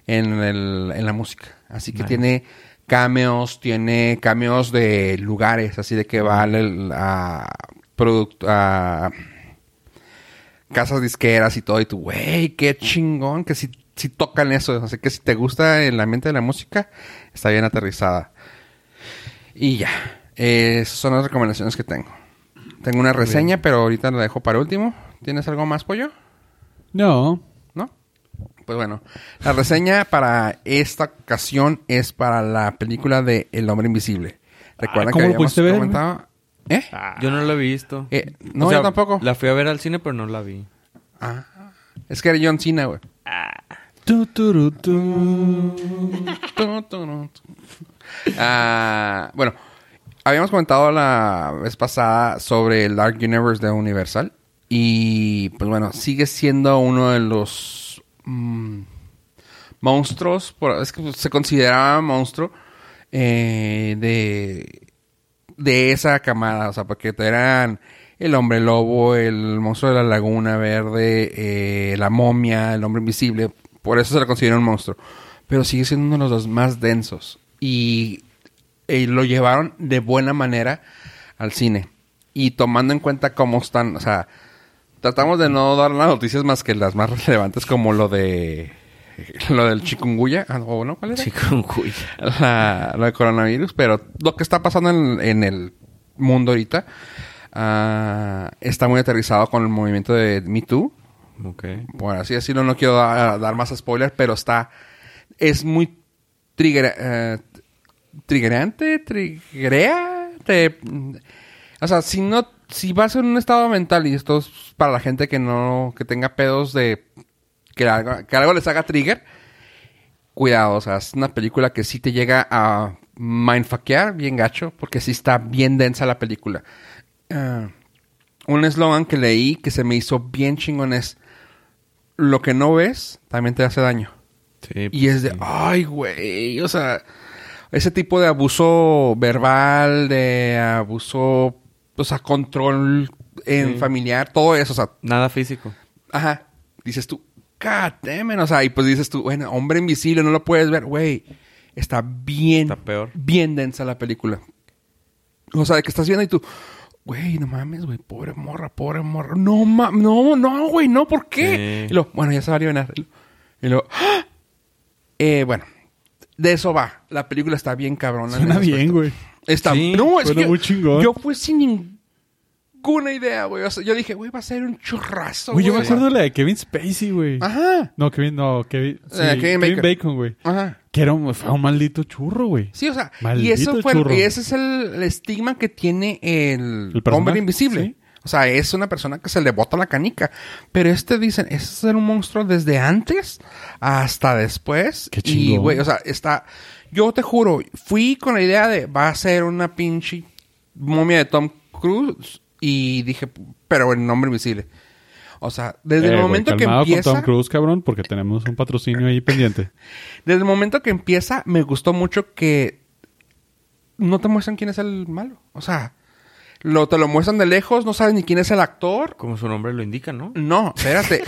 en, el- en la música. Así que Nice. tiene cameos, tiene cameos de lugares, así de que va al- el- a, product- a casas disqueras y todo. Y tú, güey, qué chingón que si, si tocan eso. Así que si te gusta el ambiente de la música, está bien aterrizada. Y ya. Eh, esas son las recomendaciones que tengo. Tengo una reseña, pero ahorita la dejo para último. ¿Tienes algo más, pollo? No. ¿No? Pues bueno, la reseña para esta ocasión es para la película de El Hombre Invisible. Recuerda Ah, ¿cómo que lo habíamos pudiste ver? comentado... ¿Eh? Yo no la he visto. Eh, no, yo tampoco. La fui a ver al cine, pero no la vi. Ah. Es que era John Cena, güey. Ah. Tu, tu, ru, tu. Ah, bueno, habíamos comentado la vez pasada sobre el Dark Universe de Universal. Y pues bueno, sigue siendo uno de los mm, monstruos. por- es que se consideraba monstruo eh, de, de esa camada. O sea, porque eran el hombre lobo, el monstruo de la laguna verde, eh, la momia, el hombre invisible. Por eso se le considera un monstruo. Pero sigue siendo uno de los más densos. Y eh, lo llevaron de buena manera al cine. Y tomando en cuenta cómo están, o sea, tratamos de no dar las noticias más que las más relevantes, como lo de lo del chikungunya, Ah, o no, ¿cuál era? Chikungunya. la, lo de coronavirus, pero lo que está pasando en, en el mundo ahorita ah, está muy aterrizado con el movimiento de Me Too. Ok. Por así decirlo, no quiero da- dar más spoilers, pero está. Es muy trigger, eh, triggerante, triggerea. te- o sea, si no. Si vas en un estado mental, y esto es para la gente que no. que tenga pedos de. que algo, que algo les haga trigger. Cuidado, o sea, es una película que sí te llega a mindfuckear bien gacho, porque sí está bien densa la película. Ah, un eslogan que leí que se me hizo bien chingón es lo que no ves también te hace daño. Sí, Y es de, ay, güey, o sea, ese tipo de abuso verbal, de abuso, o sea, control en familiar, todo eso, o sea, Nada físico. ajá, dices tú, God damn it. O sea, y pues dices tú, bueno, hombre invisible, no lo puedes ver. Güey, está bien. Está peor. Bien densa la película. O sea, de que estás viendo y tú, güey, no mames, güey, pobre morra, pobre morra. No mames, no, no, güey, no, ¿por qué? Sí. Y luego, bueno, ya se va a aliviar. Y luego, ¡ah! Eh, bueno, de eso va. La película está bien cabrona. en Suena ese bien, aspecto. güey. Está, Sí, no, es suena que muy chingón. yo fui sin ninguna idea, güey. O sea, yo dije, güey, va a ser un churrazo. Güey, yo me acuerdo de la de Kevin Spacey, güey. Ajá. No, Kevin, no, Kevin. sí, Eh, Kevin Kevin, Bacon. Bacon, güey. Ajá. Que era un, fue un maldito churro, güey. Sí, o sea, y Maldito eso fue, churro. y ese es el, el estigma que tiene el, El personaje, hombre invisible. sí. O sea, es una persona que se le bota la canica. Pero este dicen, es era un monstruo desde antes hasta después. Qué Y, chingón. güey, o sea, está... Yo te juro, fui con la idea de, va a ser una pinche momia de Tom Cruise. Y dije, pero el nombre invisible. O sea, desde Eh, el güey, momento que calmado empieza... con Tom Cruise, cabrón, porque tenemos un patrocinio ahí pendiente. Desde el momento que empieza, me gustó mucho que no te muestran quién es el malo. O sea, lo, te lo muestran de lejos, no sabes ni quién es el actor. Como su nombre lo indica, ¿no? No, espérate.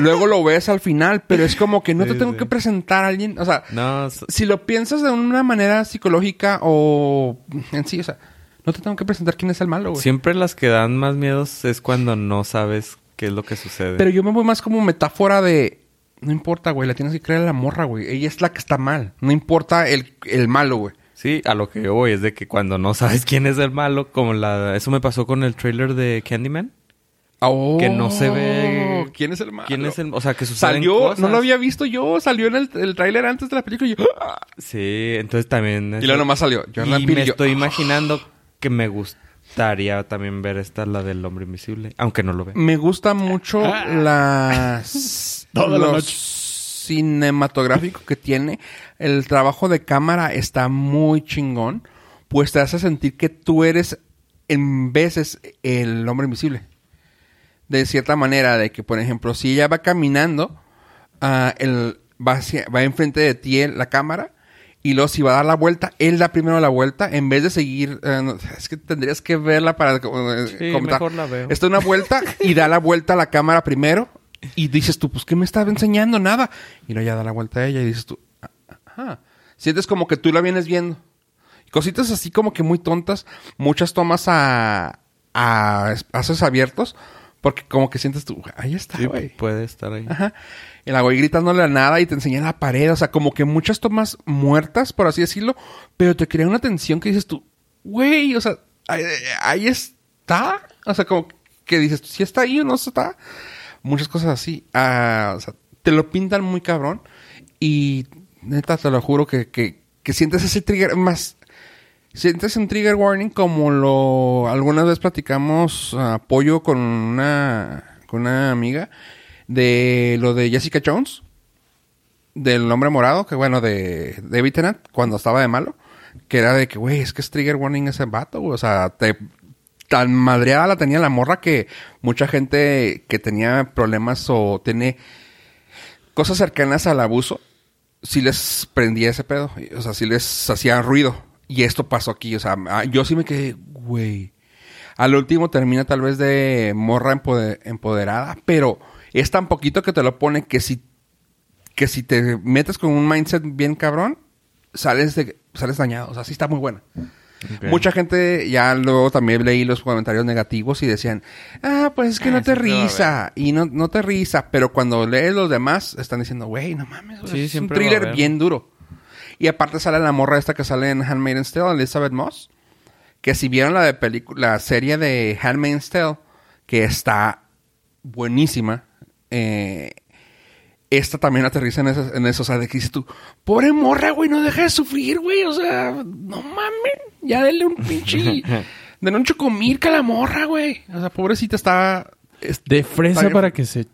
Luego lo ves al final, pero es como que no te Sí, tengo sí. que presentar a alguien. O sea, No, s- si lo piensas de una manera psicológica o en sí, o sea, no te tengo que presentar quién es el malo, güey. siempre las que dan más miedos es cuando no sabes qué es lo que sucede. Pero yo me voy más como metáfora de. No importa, güey, la tienes que creer a la morra, güey. Ella es la que está mal. No importa el, el malo, güey. Sí, a lo que yo voy es de que cuando no sabes quién es el malo, como la... Eso me pasó con el trailer de Candyman. Que no se ve- Oh, ¿Quién es el malo? ¿Quién es el... O sea, que suceden Salió, cosas. no lo había visto yo, salió en el, el tráiler antes de la película y yo... ¡ah! Sí, entonces también... Y luego nomás salió. Jordan y Peele, me yo, estoy ¡ah! imaginando que me gustaría también ver esta, la del hombre invisible. Aunque no lo vea. Me gusta mucho Ah. las... Toda la los noche. cinematográfico que tiene. El trabajo de cámara está muy chingón. Pues te hace sentir que tú eres en veces el hombre invisible. de cierta manera, de que, por ejemplo, si ella va caminando, ah, él va, hacia- va enfrente de ti el- la cámara, y luego si va a dar la vuelta, él da primero la vuelta, en vez de seguir, eh, no, es que tendrías que verla para eh, comentar. mejor la veo. Está una vuelta y da la vuelta a la cámara primero, y dices tú, pues, ¿qué me estaba enseñando? Nada. Y luego ya da la vuelta a ella y dices tú, "Ah, ajá. Sientes como que tú la vienes viendo. Cositas así como que muy tontas. Muchas tomas a, a espacios abiertos. Porque como que sientes tú, ahí está, Sí, güey. Ah, puede estar ahí. Ajá. Y la güey gritándole a nada y te enseña la pared. O sea, como que muchas tomas muertas, por así decirlo. Pero te crea una tensión que dices tú, güey, o sea, ahí, ahí está. O sea, como que dices tú, si está ahí o no está. Muchas cosas así. Ah, o sea, te lo pintan muy cabrón. Y neta, te lo juro que, que, que sientes ese trigger más. Sientes un trigger warning como lo algunas veces platicamos apoyo con una con una amiga de lo de Jessica Jones del hombre morado, que bueno, de David Tennant cuando estaba de malo, que era de que güey, es que es trigger warning ese vato, güey, o sea, te tan madreada la tenía la morra que mucha gente que tenía problemas o tiene cosas cercanas al abuso, si les prendía ese pedo. y, O sea, si les hacía ruido. Y esto pasó aquí. O sea, ah, yo sí me quedé, güey. Al último termina tal vez de morra empode- empoderada, pero es tan poquito que te lo pone que si, que si te metes con un mindset bien cabrón, sales, de, sales dañado. O sea, sí está muy buena. Ok. Mucha gente, ya luego también leí los comentarios negativos y decían, ah, pues es que Ah, no te siempre va a risa, y no, no te risa, pero cuando lees los demás están diciendo, güey, no mames, güey, Sí, es un siempre va a thriller haber. bien duro. Y aparte sale la morra esta que sale en Handmaid's Tale, Elizabeth Moss, que si vieron la, de pelicu- la serie de Handmaid's Tale, que está buenísima, eh, esta también aterriza en eso, en eso. O sea, de que dices tú, pobre morra, güey, no deja de sufrir, güey. O sea, no mames. Ya denle un pinche. denle un chocomilca a la morra, güey. O sea, pobrecita está. es- De está fresa bien- para que se...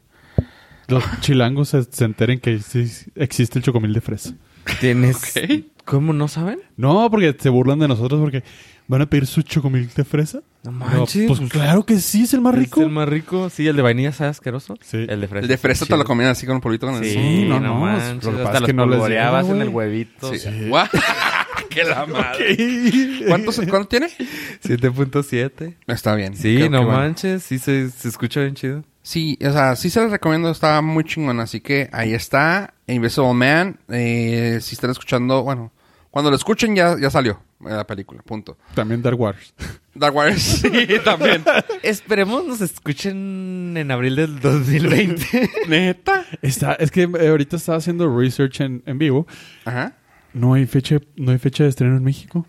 Los chilangos se, se enteren que sí existe el chocomil de fresa. Tienes... Ok. ¿Cómo no saben? No, porque se burlan de nosotros porque van a pedir su chocomil de fresa. No manches, pues, pues, claro que sí, es el más rico. ¿Es el más rico? Sí, el de vainilla sabe asqueroso. Sí. El de fresa. El de fresa te lo comían así con un polvito con el Sí, Sí, no, no, no, manches. lo que pasa Hasta es los que no les polvoreabas llega, en el güey. huevito. Sí. Guau. ¡Qué la madre! ¿Cuántos- ¿Cuánto tiene? 7.7. Está bien. Sí, Creo no que bueno. manches. Sí, se, se escucha bien chido. Sí, o sea, sí se les recomiendo, está muy chingón. Así que ahí está, Invisible Man. Eh, si están escuchando, bueno, cuando lo escuchen ya, ya salió eh, la película, punto. También Dark Wars. Dark Wars, sí, también. Esperemos nos escuchen en abril del 2020. Neta. Está, es que eh, ahorita estaba haciendo research en, en vivo. Ajá. No hay fecha, no hay fecha de estreno en México.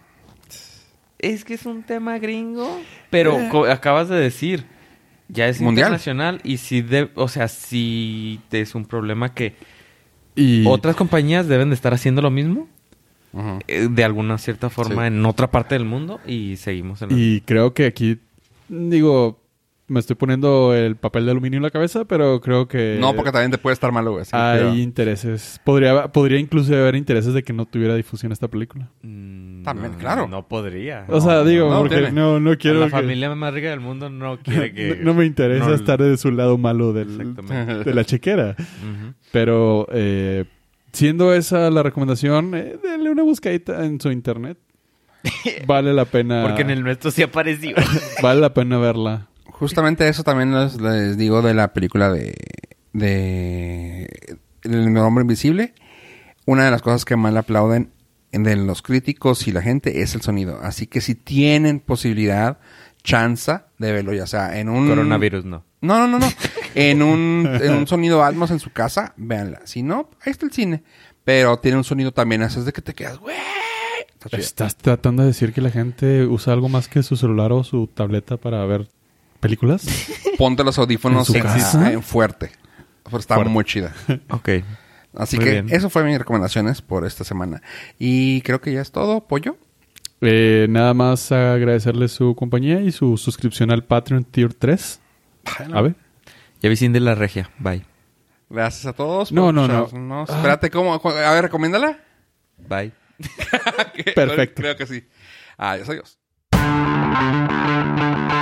es que es un tema gringo, pero co- acabas de decir, ya es Mundial. internacional y si, de- o sea, si es un problema que Y otras compañías deben de estar haciendo lo mismo Ujú. eh, de alguna cierta forma Sí. en otra parte del mundo y seguimos en la- Y creo que aquí, digo, me estoy poniendo el papel de aluminio en la cabeza, pero creo que... No, porque también te puede estar malo, güey. así que Hay cuidado. intereses. Podría, podría incluso haber intereses de que no tuviera difusión esta película. Mm, También, no, claro. No podría. o sea, digo, no, porque tiene. no, no quiero... la que- familia más rica del mundo no quiere que... no me interesa no- estar de su lado malo del, Exactamente. de la chequera. Ujú. Pero eh, siendo esa la recomendación, eh, denle una buscadita en su internet. Vale la pena. Porque en el nuestro sí apareció. Vale la pena verla. Justamente eso también les, les digo de la película de, de El Hombre Invisible. Una de las cosas que más le aplauden de los críticos y la gente es el sonido. Así que si tienen posibilidad, chance de verlo, ya sea en un... Coronavirus no. No, no, no, no. En un, en un sonido Atmos en su casa, véanla. Si no, ahí está el cine. Pero tiene un sonido también, así es de que te quedas, güey. Está chida. ¿Estás tratando de decir que la gente usa algo más que su celular o su tableta para ver películas? Ponte los audífonos ¿En su en- casa? en fuerte. Pero Está Fuerte. muy chida. Ok. Así Muy que bien. eso fue mis recomendaciones por esta semana. Y creo que ya es todo, pollo. Eh, nada más agradecerles su compañía y su suscripción al Patreon Tier 3. A ver. Ya vi de la regia. Bye. Gracias a todos. No, por no, Ah. no. escucharnos. espérate, ¿cómo? ¿Cu- A ver, recomiéndala. Bye. Que- Perfecto. Creo que sí. Adiós, adiós.